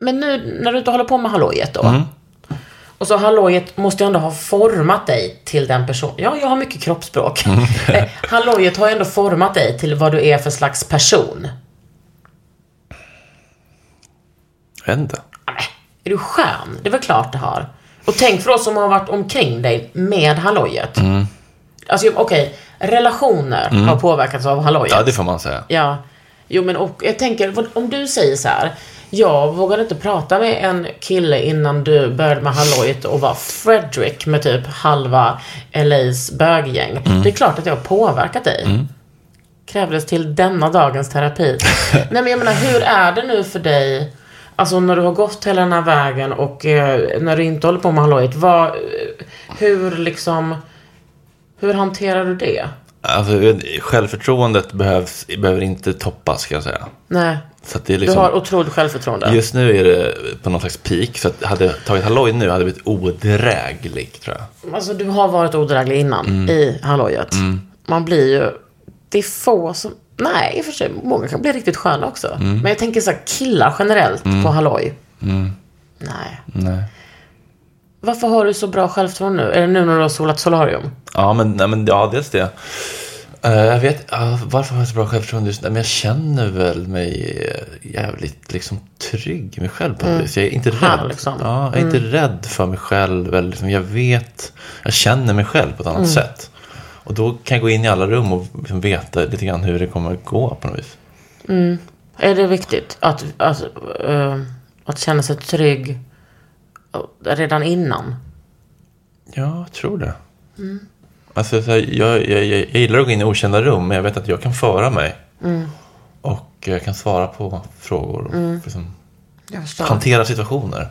Men nu när du inte håller på med hallojet då. Mm. Och så hallojet måste ju ändå ha format dig till den person. Ja, jag har mycket kroppsspråk. Mm. <laughs> Eh, hallojet har ju ändå format dig till vad du är för slags person. Äh, Jag vet inte. Nej, är du skön? Det är väl klart det har. Och tänk för oss som har varit omkring dig med hallojet. Mm. Alltså okej, relationer har påverkats av hallojet. Ja, det får man säga. Ja. Jo, men och, jag tänker, vad- om du säger så här. Jag vågade inte prata med en kille innan du började med hallojet och var Fredrik med typ halva LAs böggäng. Det är klart att jag har påverkat dig. Krävdes till denna dagens terapi. Nej, men jag menar, hur är det nu för dig? Alltså när du har gått hela den här vägen och eh, när du inte håller på med hallojet. Vad, eh, hur liksom, hur hanterar du det? Alltså, självförtroendet behövs, behöver inte toppas, ska jag säga. Nej. Så att det är Du liksom... har otroligt självförtroende. Just nu är det på någon slags peak, så att hade jag tagit halloj nu hade jag blivit odräglig, tror jag. Alltså du har varit odräglig innan i hallojet. Man blir ju... Det är få som... Nej, i och för sig. Många kan bli riktigt sköna också. Men jag tänker så här, killar generellt på halloj. Nej. Nej. Varför har du så bra självförtroende nu? Är det nu när du har solat solarium? Ja, men, nej, men ja, dels det. Eh, jag vet, ja, varför har jag så bra självförtroende just nu? Men jag känner väl mig eh, jävligt liksom, trygg med mig själv på mm. Jag är inte Här, rädd. liksom. Ja, jag är inte rädd för mig själv. Eller, liksom, jag vet, jag känner mig själv på ett annat sätt. Och då kan jag gå in i alla rum och liksom, veta lite grann hur det kommer att gå på något vis. Är det viktigt att, att, eh, att känna sig trygg eh, redan innan? Ja, jag tror det. Alltså, så här, jag, jag, jag, jag gillar att gå in i okända rum, men jag vet att jag kan föra mig. Och jag kan svara på frågor och liksom, Jag förstår. hantera situationer.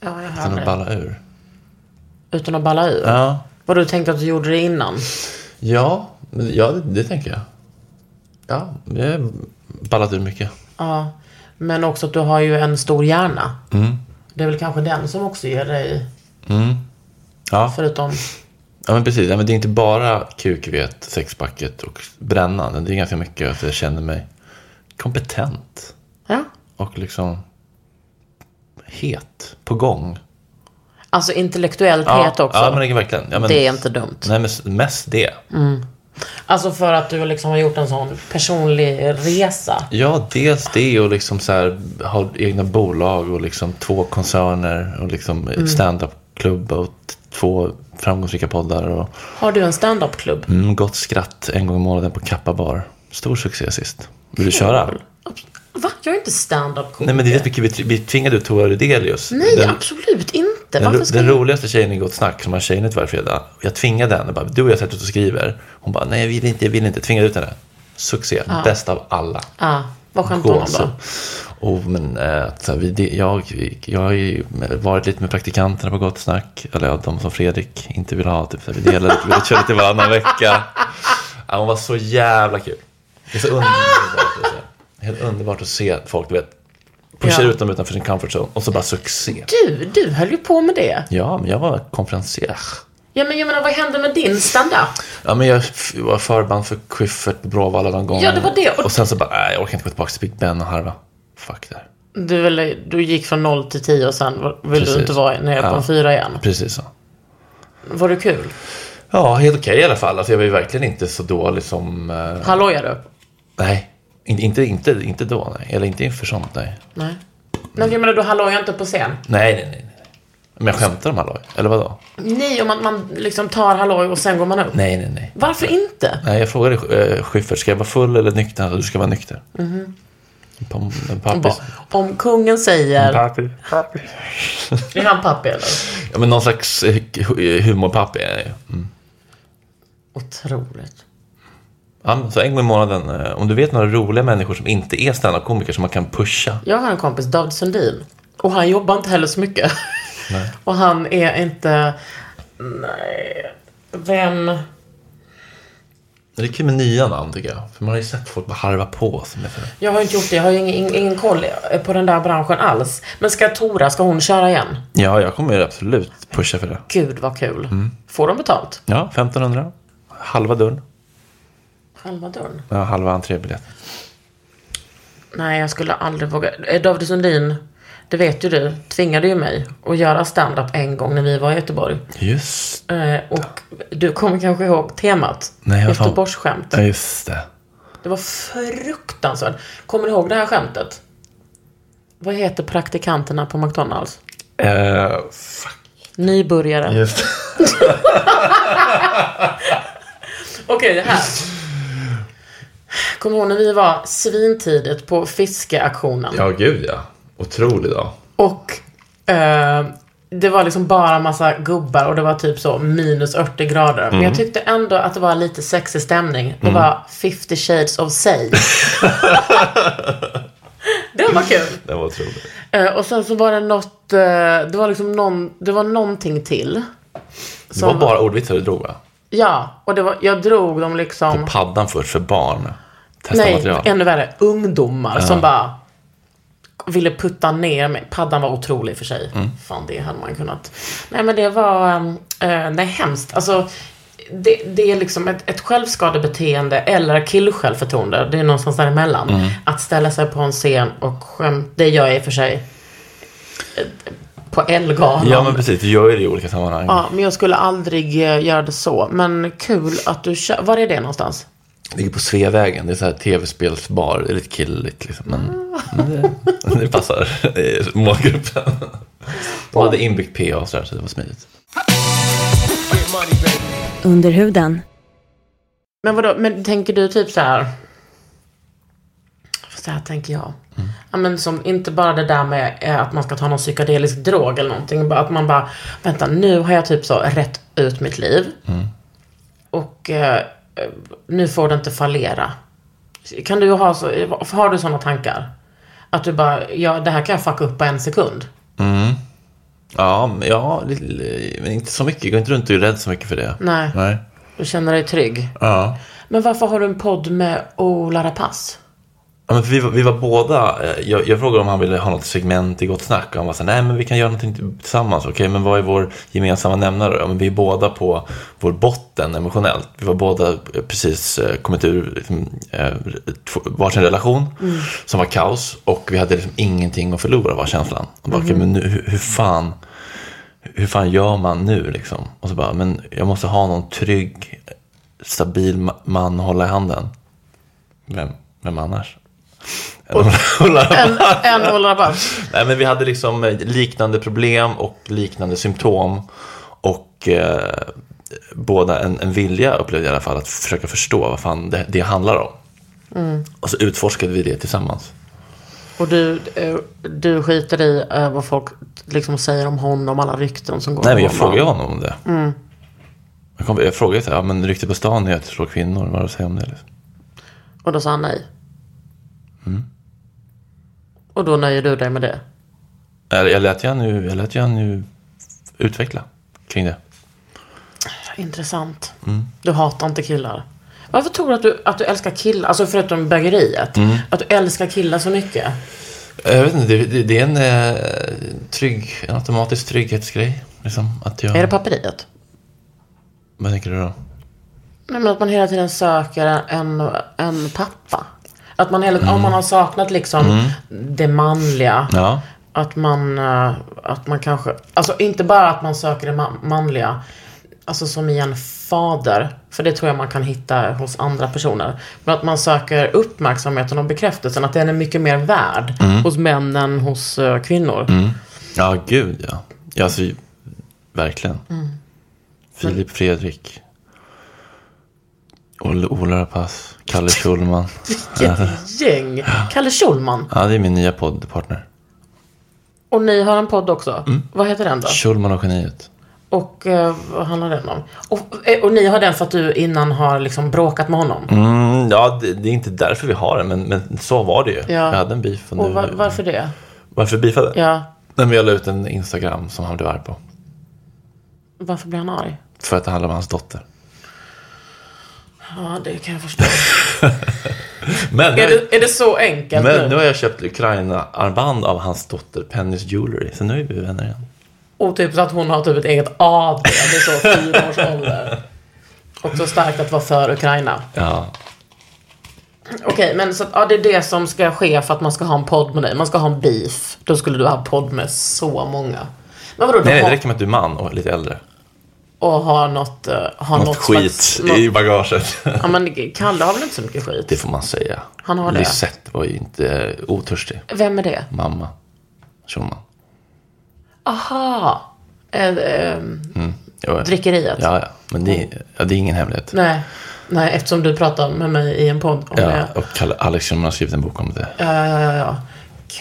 Ja, jag hör Utan att det. balla ur. Utan att balla ur? Ja, Vad du tänkte att du gjorde det innan? ja, men- ja det, det tänker jag. Ja, jag har ballat ur mycket. Ja, men också att du har ju en stor hjärna. Mm. Det är väl kanske den som också ger dig, Ja, förutom... ja men precis. Ja, men det är inte bara kuk, vet, sexpacket och brännan. Det är ganska mycket att jag känner mig kompetent Ja. och liksom het, på gång. Alltså intellektuellt Ja, het också. Ja, men det är verkligen. Ja, men, Det är inte dumt. Nej, men s- mest det. Alltså för att du liksom har gjort en sån personlig resa. Ja, dels det och liksom så här, ha egna bolag och liksom två koncerner och liksom mm. stand-up-klubb och t- två framgångsrika poddar och Har du en standup-klubb? mm, gott skratt en gång i månaden på Kappa Bar. Stor succé sist. Vill du köra? Va? Jag är inte standup Nej, men det är mycket vi, vi tvingade ut Tora Rydelius. Nej, Den- absolut inte. Den, Varför ro- ska den jag... roligaste tjejen i Gott Snack som har tjejnytt varje fredag. Jag tvingade henne. Bara, du och jag sätter oss och skriver. Hon bara, nej jag vill inte, jag vill inte. Tvingade ut henne. Succé. Bäst av alla. Ah, vad skönt honom Gåshud. då. Oh, Alltså, men, eh, så här, vi, det, jag, jag har ju varit lite med praktikanterna på Gott Snack. Eller ja, de som Fredrik inte vill ha. Typ, så här, vi delade, vi körde lite varannan vecka. Ja, hon var så jävla kul. Det är så underbart, att se. Helt underbart att se folk, du vet. Pushar Ja. ut dem utanför sin comfort zone och så bara succé. Du, du höll ju på med det. Ja, men jag var konferencier. Ja, men jag menar, vad hände med din standup? Ja, men jag f- var förband för Quiffert på Bråvalla någon gång. Ja, det var det. Och, sen så bara, nej, jag orkar inte gå tillbaka till Big Ben och harva. Fuck det här. Du, ville, du gick från noll till tio och sen var- ville Precis. du inte vara nere på Ja. en fyra igen. Precis så. Var det kul? Ja, helt okej i alla fall. Alltså, jag var ju verkligen inte så dålig som... Eh, Hallojade du? nej, In, inte, inte, inte då, nej. Eller inte inför sånt, nej. Nej. Men jag menar, du hallojade inte på scen? Nej, nej, nej. nej. Men jag skämtar om halloj, eller vadå? Nej, om man, man liksom tar halloj och sen går man upp. Nej, nej, nej. Varför inte? Nej, jag frågade eh, Schyffert, ska jag vara full eller nykter? Han sa, Du ska vara nykter. Mm-hmm. En, pom- en Bara, pappis. om kungen säger... Är han pappi eller? Ja, men någon slags eh, hu- humorpappi är jag ju. Mm. Otroligt. Ja, men så en gång i månaden. eh, Om du vet några roliga människor som inte är standup-komiker som man kan pusha. Jag har en kompis, David Sundin. Och han jobbar inte heller så mycket. <laughs> och han är inte... Nej. Vem... Det är kul med nya namn tycker jag. För man har ju sett folk bara harva på. Som heter det. Jag har inte gjort det. Jag har ju ingen, ingen koll på den där branschen alls. Men ska Tora, ska hon köra igen? Ja, jag kommer ju absolut pusha för det. Gud vad kul. Får de betalt? Ja, 1500. Halva dörren. Halva dörren. Ja, halva entrébiljetten. Nej, jag skulle aldrig våga. Eh, David Sundin, det vet ju du, tvingade ju mig att göra stand-up en gång när vi var i Göteborg. Just Eh, och du kommer kanske ihåg temat? Nej, vad fan. Göteborgsskämt. Ja, just det. Det var fruktansvärt. Kommer du ihåg det här skämtet? Vad heter praktikanterna på McDonalds? Eh, Nybörjare. just Okej, det här. Kommer ihåg när vi var svintidigt på fiskeaktionen? Ja, gud ja. Otrolig dag. Och eh, det var liksom bara massa gubbar och det var typ så minus 80 grader. Men Mm. jag tyckte ändå att det var lite sexig stämning. Det var 50 shades of <laughs> say. det var kul. Den var otrolig. Eh, och sen så var det något, eh, det var liksom någon, det var någonting till. Det var bara ordvitsar du drog va? Ja, och det var, jag drog dem liksom. På paddan först för barn. Testa Nej, material. ännu värre. Ungdomar som bara ville putta ner mig. Paddan var otrolig i och för sig. Mm. Fan, det hade man kunnat. Nej, men det var... ehm, eh, nej, hemskt. Alltså, det, det är liksom ett, ett självskadebeteende eller killsjälvförtroende. Det är någonstans däremellan. Mm. Att ställa sig på en scen och skämta. Det gör jag i och för sig. eh, På Ellegalan. Ja, men precis. Du gör ju det i olika sammanhang. Ja, men jag skulle aldrig eh, göra det så. Men kul att du kör. Var är det någonstans? Ligger på Sveavägen. Det är så här tv-spelsbar. Det är lite killigt liksom. Men, men det, det passar eh, <laughs> målgruppen. De hade inbyggt PA och sådär, så det var smidigt. Under huden. Men vadå, men tänker du typ så här? Så här tänker jag. Ja, men som, inte bara det där med eh, att man ska ta någon psykedelisk drog eller någonting. Bara att man bara, vänta nu har jag typ så rätt ut mitt liv. Och eh, eh, nu får det inte fallera. Kan du ha så, har du sådana tankar? Att du bara, ja det här kan jag fucka upp på en sekund. Ja, men, ja, lite- men inte så mycket. Jag går inte runt och är rädd så mycket för det. Nej. Nej. Du känner dig trygg. Ja. Men varför har du en podd med Ola Rapace? Ja, men för vi, var, vi var båda, eh, jag, jag frågade om han ville ha något segment i Gott Snack och han var så här, nej men vi kan göra någonting tillsammans, okej men vad är vår gemensamma nämnare då? Men vi är båda på vår botten emotionellt. Vi var båda eh, precis eh, kommit ur liksom, eh, två- varsin relation som var kaos och vi hade liksom ingenting att förlora var känslan. Och bara, okej, men nu, hur, hur fan hur fan gör man nu liksom? Och så bara, men jag måste ha någon trygg stabil ma- man att hålla i handen. Vem, vem annars? En <laughs> Ola Rapace. En, en Ola Rapace. Nej, men vi hade liksom eh, liknande problem och liknande symptom. Och eh, båda en, en vilja, upplevde jag i alla fall, att försöka förstå vad fan det, det handlar om. Och så utforskade vi det tillsammans. Och du, eh, du skiter i eh, vad folk liksom säger om honom, alla rykten som går Nej, om men jag honom. frågade honom om det. Jag, kom, jag frågade så här, ja, men rykte på stan är att slå kvinnor, vad har du att säga om det? Liksom? Och då sa han nej. Mm. Och då nöjer du dig med det? Jag, jag lät ju han ju, jag lät ju han ju utveckla kring det. Intressant. Mm. Du hatar inte killar. Varför tror du att du, att du älskar killar, alltså förutom bögeriet, Mm. att du älskar killar så mycket? Jag vet inte, det, det, det är en eh, trygg, en automatisk trygghetsgrej. Liksom, att jag, Är det papperiet? vad tänker du då? Nej men att man hela tiden söker en, en pappa. Att man hela Mm. om man har saknat liksom det manliga. Ja. Att man, eh, att man kanske, alltså inte bara att man söker det ma- manliga. Alltså som i en fader. För det tror jag man kan hitta hos andra personer. Men att man söker uppmärksamheten och bekräftelsen. Att den är mycket mer värd hos män än hos eh, kvinnor. Ja, gud ja. ja alltså, verkligen. Mm. Filip Fredrik. Ola, Ola Rapace. <laughs> Kalle Schulman. Vilket gäng! Kalle Schulman. Ja, det är min nya poddpartner. Och ni har en podd också. Vad heter den då? Schulman och geniet. Och eh, vad handlar den om? Och, eh, och ni har den för att du innan har liksom bråkat med honom? Mm, ja, det, det är inte därför vi har den, men, men så var det ju. Jag hade en beef. Och nu, Och va- varför det? varför beefade? Ja, Nej, men jag la ut en Instagram som han blev arg på. varför blir han arg? För att det handlade om hans dotter. Ja, det kan jag förstå. Men, nu är, har- det, är det så enkelt men nu nu? har jag köpt Ukraina-armband av hans dotter, Pennys Jewelry. Så nu är vi vänner igen. Och typ så att hon har typ ett eget AB det är så fyra års ålder. Också starkt att vara för Ukraina. Ja, Okej, men så att, ja, det är det som ska ske för att man ska ha en podd med dig. Man ska ha en beef. Då skulle du ha podd med så många. Men vadå, du Nej, nej, har- det räcker med att du är man och lite äldre. och ha något... eh, Ha något, Något skit slags- i något- bagaget. <laughs> Ja, men Kalle har väl inte så mycket skit? Det får man säga. Han har det. Lisette var ju inte eh, otörstig. Vem är det? Mamma Schulman. Aha. Eh, eh, Ja, ja. drickeriet? Ja, ja. Men det är, ja, det är ingen hemlighet. Nej. Nej, eftersom du pratar med mig i en podd om Ja, det. och Kalle, Alex Schulman har skrivit en bok om det. Ja, ja, ja, Eh, ja.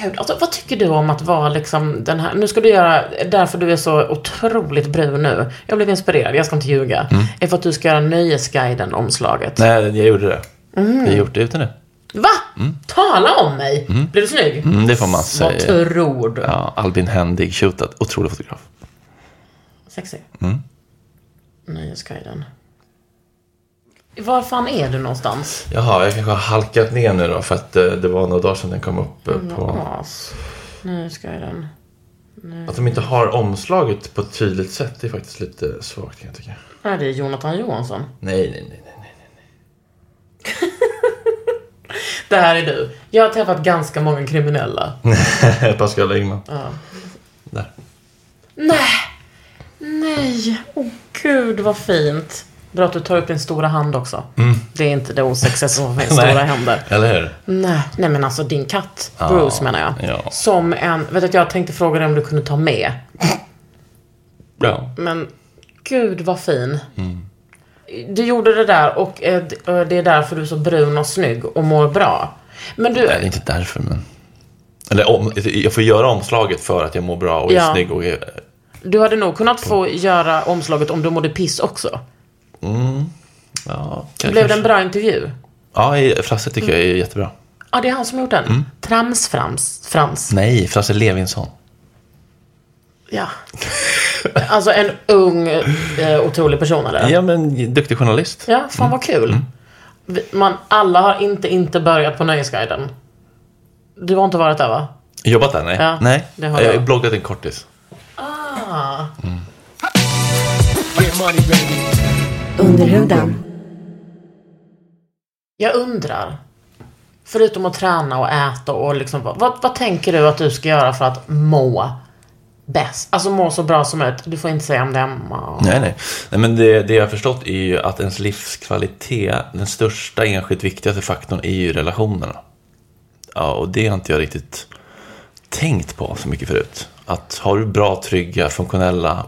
Gud, alltså, vad tycker du om att vara liksom den här, nu ska du göra, därför du är så otroligt brun nu. Jag blev inspirerad, jag ska inte ljuga. Mm. Är för att du ska göra Nöjesguiden-omslaget. Nej, jag gjorde det. Mm. Jag har gjort det utan det. Va? Tala om mig! Blir du snygg? Mm, det får man Vad säga. tror du? Ja, Albin Händig, shootad. Otrolig fotograf. Sexig. Mm. Nöjesguiden. Var fan är du någonstans? Jaha, jag kanske har halkat ner nu då för att eh, det var några dagar sedan den kom upp eh, på... As. Nöjesguiden. Mm. Att de inte har omslaget på ett tydligt sätt, det är faktiskt lite svagt kan jag tycka. Nej, det är Jonathan Johansson. Nej, nej, nej, nej. nej. Det här är du. Jag har träffat ganska många kriminella. Pascal Engman. Där. Nej! Nej! Åh gud vad fint. Bra att du tar upp din stora hand också. Det är inte det osexigaste som finns. stora Mm. <laughs> Nej. händer. Eller hur? Nej, nej men alltså din katt, Bruce menar jag. ja. Som en, vet du att jag tänkte fråga dig om du kunde ta med. Ja. Mm. Men gud vad fin. Mm. Du gjorde det där och eh, d- eh, det är därför du är så brun och snygg och mår bra. Men du, Nej, det är inte därför, men... Eller om, jag får göra omslaget för att jag mår bra och är Ja. snygg och är... du hade nog kunnat få göra omslaget om du mådde piss också. Ja, kan, Blev det en bra Mm. intervju? Ja, i- Frasse tycker jag är jättebra. Ja, det är han som har gjort den. Mm. Tramsframs. Frans. Nej, Frasse Levinson. Ja. Alltså en ung, eh, otrolig person eller? Ja, Mm. men duktig journalist. Ja, fan vad kul. Vi- Man, alla har inte, inte börjat på Nöjesguiden. Du har inte varit där va? Jobbat där? Nej. Ja, nej. det har jag har jag. bloggat en kortis. Underhudan. Jag undrar. Förutom att träna och äta och liksom, vad, vad tänker du att du ska göra för att må bäst. Alltså må så bra som möjligt. Du får inte säga om det är Emma. Nej, nej. nej men det, det jag har förstått är ju att ens livskvalitet, den största enskilt viktigaste faktorn är ju relationerna. Ja, och det har inte jag riktigt tänkt på så mycket förut. Att har du bra, trygga, funktionella,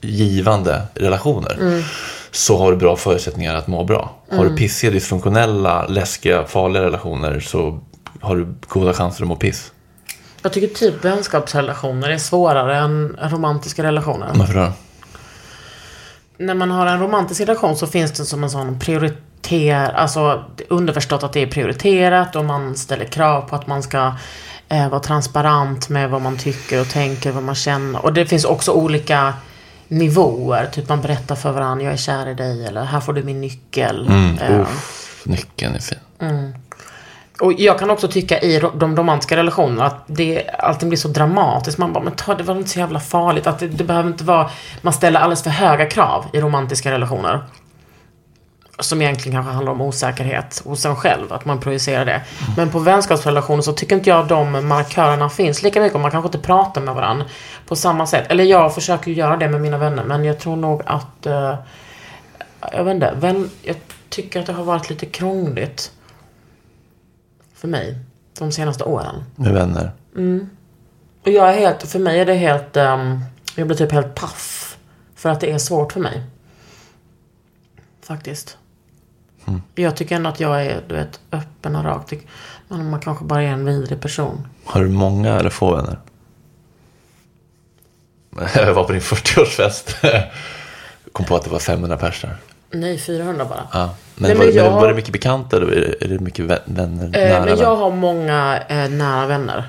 givande relationer så har du bra förutsättningar att må bra. Har du pissiga, dysfunktionella, läskiga, farliga relationer så har du goda chanser att må piss. Jag tycker typ vänskapsrelationer är svårare än romantiska relationer. Varför då? När man har en romantisk relation så finns det som en sån prioriter... Alltså underförstått att det är prioriterat och man ställer krav på att man ska eh, vara transparent med vad man tycker och tänker, vad man känner. Och det finns också olika nivåer. Typ man berättar för varandra, jag är kär i dig eller här får du min nyckel. Eh, Mm. Uff, nyckeln är fin. Och jag kan också tycka i ro- de romantiska relationerna att det alltid blir så dramatiskt. Man bara, men ta, det var inte så jävla farligt. Att det, det behöver inte vara, man ställer alldeles för höga krav i romantiska relationer. Som egentligen kanske handlar om osäkerhet hos en själv, att man projicerar det. Men på vänskapsrelationer så tycker inte jag de markörerna finns lika mycket. och Man kanske inte pratar med varandra på samma sätt. Eller jag försöker ju göra det med mina vänner, men jag tror nog att... eh, jag vet inte, vän, jag tycker att det har varit lite krångligt för mig de senaste åren. Med vänner. Och jag är helt, för mig är det helt, ehm, jag blir typ helt paff. För att det är svårt för mig. Faktiskt. Jag tycker ändå att jag är, du vet, öppen och rak. Tyck- Men man kanske bara är en vidrig person. Har du många eller få vänner? <laughs> Jag var på din 40-årsfest. Kom på att det var 500 pers där. Nej, 400 bara. Ja. Men, Nej, var, men jag- var det mycket bekanta då? Är det, är det mycket vä- vänner? Eh, nära men vänner? jag har många eh, nära vänner.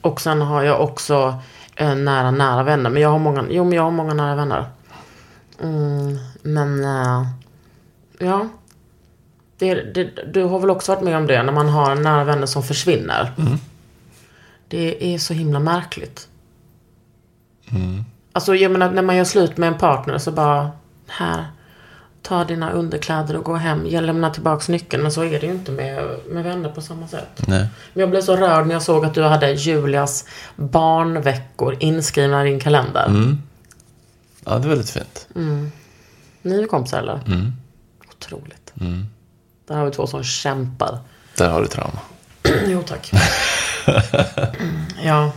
Och sen har jag också eh, nära, nära vänner. Men jag har många, jo, men jag har många nära vänner. Mm, men, eh, ja. Det, det, du har väl också varit med om det, när man har nära vänner som försvinner. Det är så himla märkligt. Alltså, jag menar, när man gör slut med en partner så bara, här. Ta dina underkläder och gå hem. Jag lämnar tillbaks nyckeln. Men så är det ju inte med, med vänner på samma sätt. Nej. Men jag blev så rörd när jag såg att du hade Julias barnveckor inskrivna i din kalender. Ja, det var lite fint. Ni är kompisar eller? Mm. Otroligt. Där har vi två som kämpar. Där har du trauma. jo tack. Mm, ja.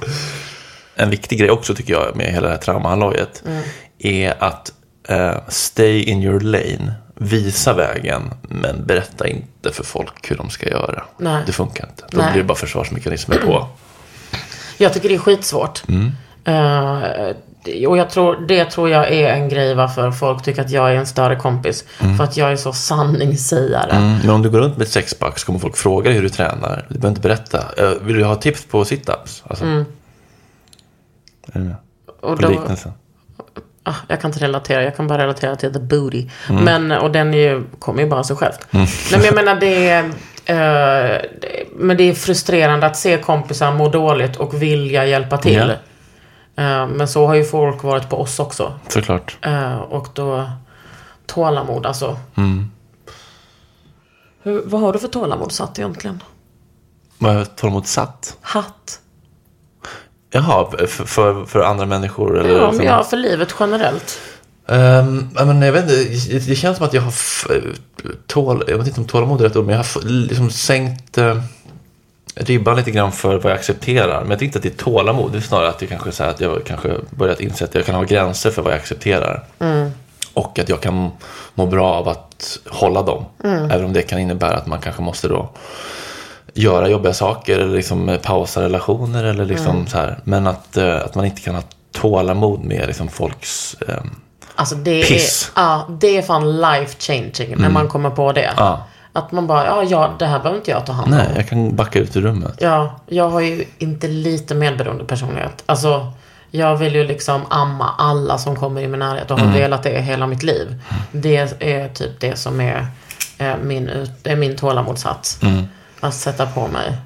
En viktig grej också tycker jag med hela det här traumahallojet Mm. är att eh, stay in your lane. Visa vägen, men berätta inte för folk hur de ska göra. Nej. Det funkar inte. Då Nej. blir det bara försvarsmekanismer på. Jag tycker det är skitsvårt. Eh, det- och jag tror, det tror jag är en grej varför folk tycker att jag är en större kompis. För att jag är så sanningssägare. Mm, Men om du går runt med ett sexpack så kommer folk fråga dig hur du tränar. Du behöver inte berätta. Eh, Vill du ha tips på situps? Alltså, Är du med? Mm. Och Eh, På då- liknelsen. Ah, jag kan inte relatera, jag kan bara relatera till the booty. Men, och den är ju, kommer ju bara av sig själv. Nej, men jag menar det är, eh, det- men det är frustrerande att se kompisar må dåligt och vilja hjälpa till. Eh, men så har ju folk varit på oss också. Såklart. Eh, och då, tålamod alltså. Hur, vad har du för tålamod satt egentligen? Vad jag tar emot satt? Hatt? Jaha, för, för, för andra människor? Eller liksom- Ja, för- men ja, för livet generellt. Ehm, ja, men jag vet inte, det, det känns som att jag har f- eh, tål, jag vet inte om tålamod är rätt ord, men jag har f- liksom sänkt eh, ribban lite grann för vad jag accepterar. Men jag tycker inte att det är tålamod, det är snarare att, det kanske, är så här, att jag kanske börjat inse att jag kan ha gränser för vad jag accepterar. Och att jag kan må bra av att hålla dem. Även om det kan innebära att man kanske måste då göra jobbiga saker eller liksom eh, pausa relationer eller liksom så här. Men att, eh, att man inte kan ha tålamod med liksom folks ehm, Alltså det Piss. Mm. är, ja, det är fan life changing när man kommer på det. Ja. Att man bara, ja, ja, det här behöver inte jag ta hand om. Nej, jag kan backa ut ur rummet. Ja, jag har ju inte lite medberoende personlighet. Alltså, jag vill ju liksom amma alla som kommer i min närhet och har Mm. velat det hela mitt liv. Det är typ det som är eh, min, ut- det är min tålamodssats. Mm. Att sätta på mig.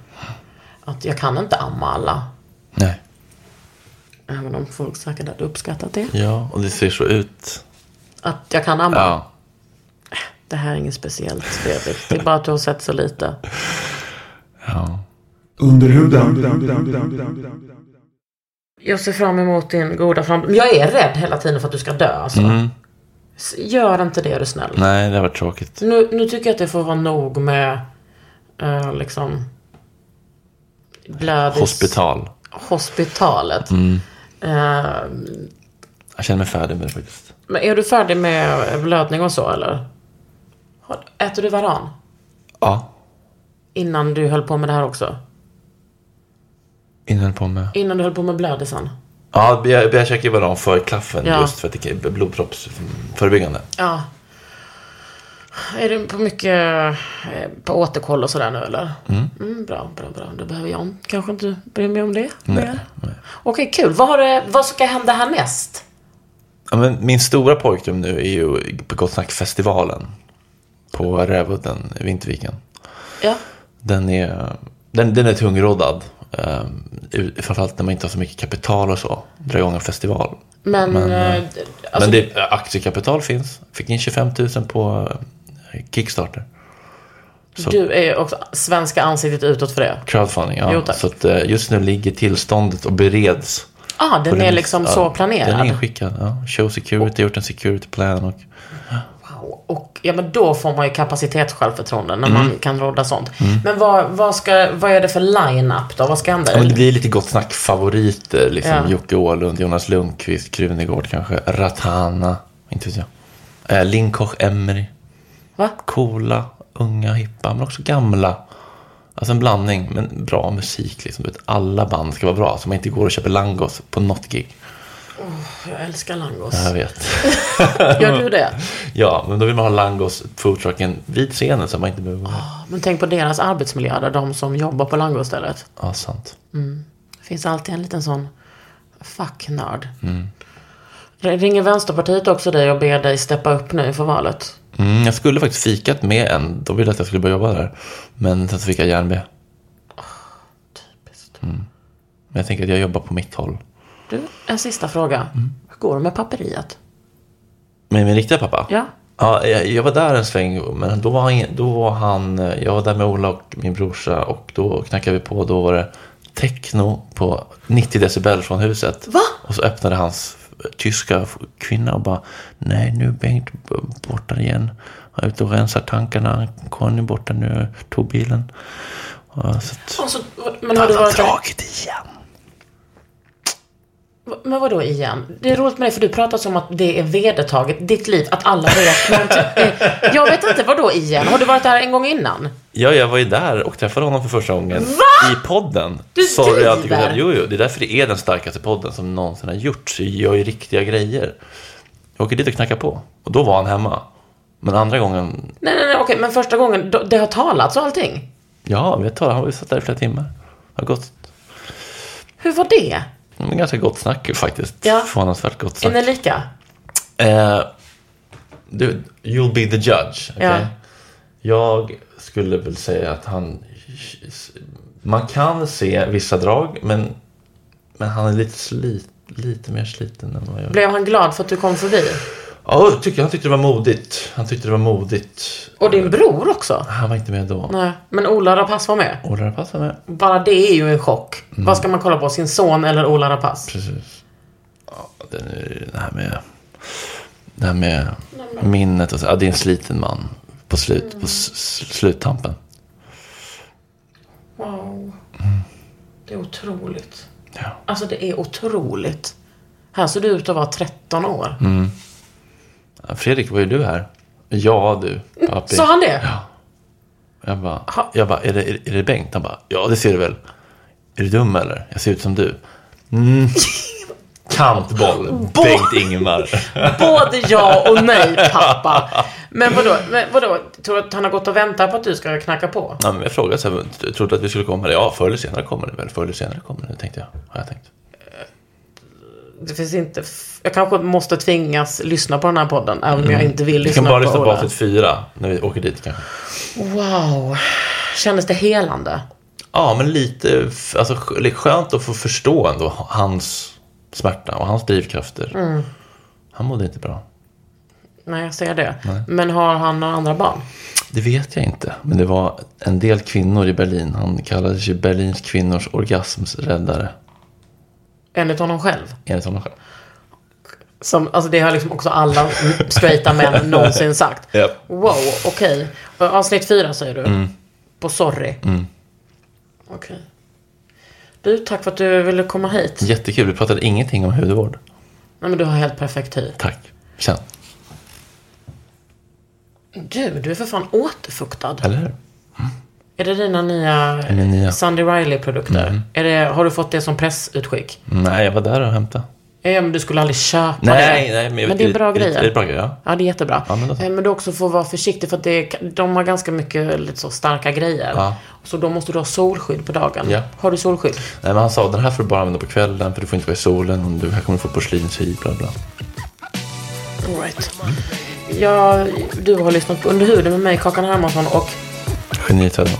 Att jag kan inte amma alla. Nej. Även om folk säkert hade uppskattat det. Ja, och det ser så ut. Att jag kan amma. Ja. Det här är inget speciellt Fredrik. Det är bara att du har sett så lite. ja. Jag ser fram emot din goda framtid. Men jag är rädd hela tiden för att du ska dö alltså. S- Gör inte det är du snäll. Nej, det har varit tråkigt. Nu, nu tycker jag att det får vara nog med eh, liksom blödis... Hospital. Hospitalet. Eh, Jag känner mig färdig med det faktiskt. men är du färdig med blödning och så eller? Har- Äter du varan? Ja, Innan du höll på med det här också? innan jag höll på med... Innan du höll på med blödisen? Ja, jag, jag käkar ju bara dem för klaffen Ja. just för att det är blodproppsförebyggande. Ja. Är du på mycket eh, på återkoll och sådär nu eller? Mm. bra, bra, bra. Då behöver jag kanske inte bry mig om det. mer. Okej, kul. Vad, har du, vad ska hända härnäst? Ja, men min stora pojkdröm nu är ju på Gott Snack-festivalen på Rävudden i Vinterviken. Ja. Den är, den, den är tungroddad. Um, framförallt när man inte har så mycket kapital och så. Dra igång en festival. Men, eh, alltså, men det, äh, aktiekapital finns. Fick in 25 000 på eh, Kickstarter. så- du är ju också svenska ansiktet utåt för det. Crowdfunding, ja. Jo, tack. så att, eh, just nu ligger tillståndet och bereds. Ah, den På är remiss. liksom Ja, så Den är planerad. inskickad. Ja. Show Security har gjort en security plan. Och, Wow. Och ja, men då får man ju kapacitetssjälvförtroende när Mm. man kan rodda sånt. Men vad, vad, ska, vad är det för line-up då? Vad ska hända? ja, men det blir lite gott snack-favoriter. Liksom. Ja. Jocke Åhlund, Jonas Lundqvist, Krunegård kanske. Ratana, inte vet jag. Eh, Linn Koch Emery. Va? Coola, unga, hippa, men också gamla. Alltså en blandning, men bra musik. Liksom. Du vet, alla band ska vara bra, så man inte går och köper langos på något gig. Jag älskar langos. Jag vet. Gör du det? <laughs> Ja, men då vill man ha langos, foodtrucken vid scenen så man inte behöver... Men tänk på deras arbetsmiljö där de som jobbar på langostället. Ja, sant. Det finns alltid en liten sån fucknörd. R- Ringer Vänsterpartiet också dig och ber dig steppa upp nu inför valet? Mm, jag skulle faktiskt fikat med en. De ville att jag skulle börja jobba där. Men sen så fick jag järnbe. Typiskt. Men jag tänker att jag jobbar på mitt håll. Du, en sista fråga. Hur går det med papperiet? Med min riktiga pappa? Ja. Ja, jag, jag var där en sväng, men då var, han, ingen- då var han... Jag var där med Ola och min brorsa och då knackade vi på. Då var det techno på 90 decibel från huset. Va? Och så öppnade hans tyska f- kvinna och bara Nej, nu är Bengt b- borta igen. Han är ute och rensar tankarna. Conny är borta nu, tog bilen. Ja, så att, Alltså, men har han du har varit där? dragit igen. Men vadå igen? Det är roligt med dig för du pratar som att det är vedertaget, ditt liv, att alla vet någonting. Eh, Jag vet inte, vadå igen? Har du varit där en gång innan? Ja, jag var ju där och träffade honom för första gången i podden. Du Sorry att driver! jag jo, jo, det är därför det är den starkaste podden som någonsin har gjorts. Jag gör ju riktiga grejer. Jag åker dit och knackar på. Och då var han hemma. Men andra gången, Nej, nej, nej, okej, men första gången, då- det har talats och allting. ja, vi talade, han var ju satt där i flera timmar. Det har gått, Hur var det? men ganska gott snack faktiskt. Ja. Förvånansvärt gott Är snack. ni lika? Eh, du, you'll be the judge. okej? Ja. Jag skulle väl säga att han... Man kan se vissa drag, men, men han är lite, slit, lite mer sliten än vad jag Blev han glad för att du kom förbi? Ja, jag tycker, Han tyckte det var modigt. Han tyckte det var modigt. Och din bror också? Han var inte med då. Nej, men Ola Rapace var med. Ola Rapace var med. Bara det är ju en chock. Vad ska man kolla på? Sin son eller Ola Rapace? Mm. Precis. Ja, det, är det här med, det här med minnet och så. Ja, det är en sliten man på, slut, på s- s- sluttampen. Wow. Det är otroligt. Mm. Ja. Alltså det är otroligt. Här ser du ut att vara 13 år. Mm, Fredrik, var ju du här? Ja, du. Pappi. Sa Mm. han det? Jag bara, Ha- jag bara är, det, är det Bengt? Han bara, ja det ser du väl. Är du dum eller? Jag ser ut som du. Mm. <laughs> Kantboll. Bengt Ingemar. Både ja och nej <laughs> pappa. Men vadå, men vadå? Tror du att han har gått och väntat på att du ska knacka på? Ja, men jag frågade så här, "Tro- trodde att vi skulle komma? Ja, förr eller senare kommer det väl. Förr eller senare kommer det, tänkte jag. Har jag tänkt. Det finns inte... f- Jag kanske måste tvingas lyssna på den här podden, även om jag inte vill Mm. Vi lyssna kan på bara lyssna på Ola. avsnitt fyra när vi åker dit kanske. Wow. Kändes det helande? Ja, men lite f- alltså, sk- skönt att få förstå ändå hans smärta och hans drivkrafter. Mm. Han mådde inte bra. Nej, jag ser det. Men har han några andra barn? Det vet jag inte, men det var en del kvinnor i Berlin. Han kallades ju Berlins kvinnors orgasmsräddare. Enligt honom själv. enligt honom själv. Som, alltså det har liksom också alla straighta <laughs> män någonsin sagt. Japp. Wow, okej. Avsnitt fyra säger du. På sorry. Okej. Du, tack för att du ville komma hit. Jättekul, vi pratade ingenting om hudvård. Nej men du har helt perfekt hy. Tack. Känn. Du, du är för fan återfuktad. Eller hur? Är det dina nya, Mm. Min nya. Sandy Riley-produkter? Är det, har du fått det som pressutskick? Nej, jag var där och hämtade. Eh, men du skulle aldrig köpa Nej, det. nej, men jag vet- det är bra det- det är grejer. bra grejer, ja. Ja, det är jättebra. Ja, men men, då så. men du också får vara försiktig för att det, är- de har ganska mycket lite så starka grejer. Ja. Så då måste du ha solskydd på dagen. Ja. Har du solskydd? Nej, men han sa den här får du bara använda på kvällen för du får inte vara i solen och du här kommer du få porslinshy, bla bla. All right. Ja, du har lyssnat på Under huden med mig, Kakan Hermansson och Geniet hörde man.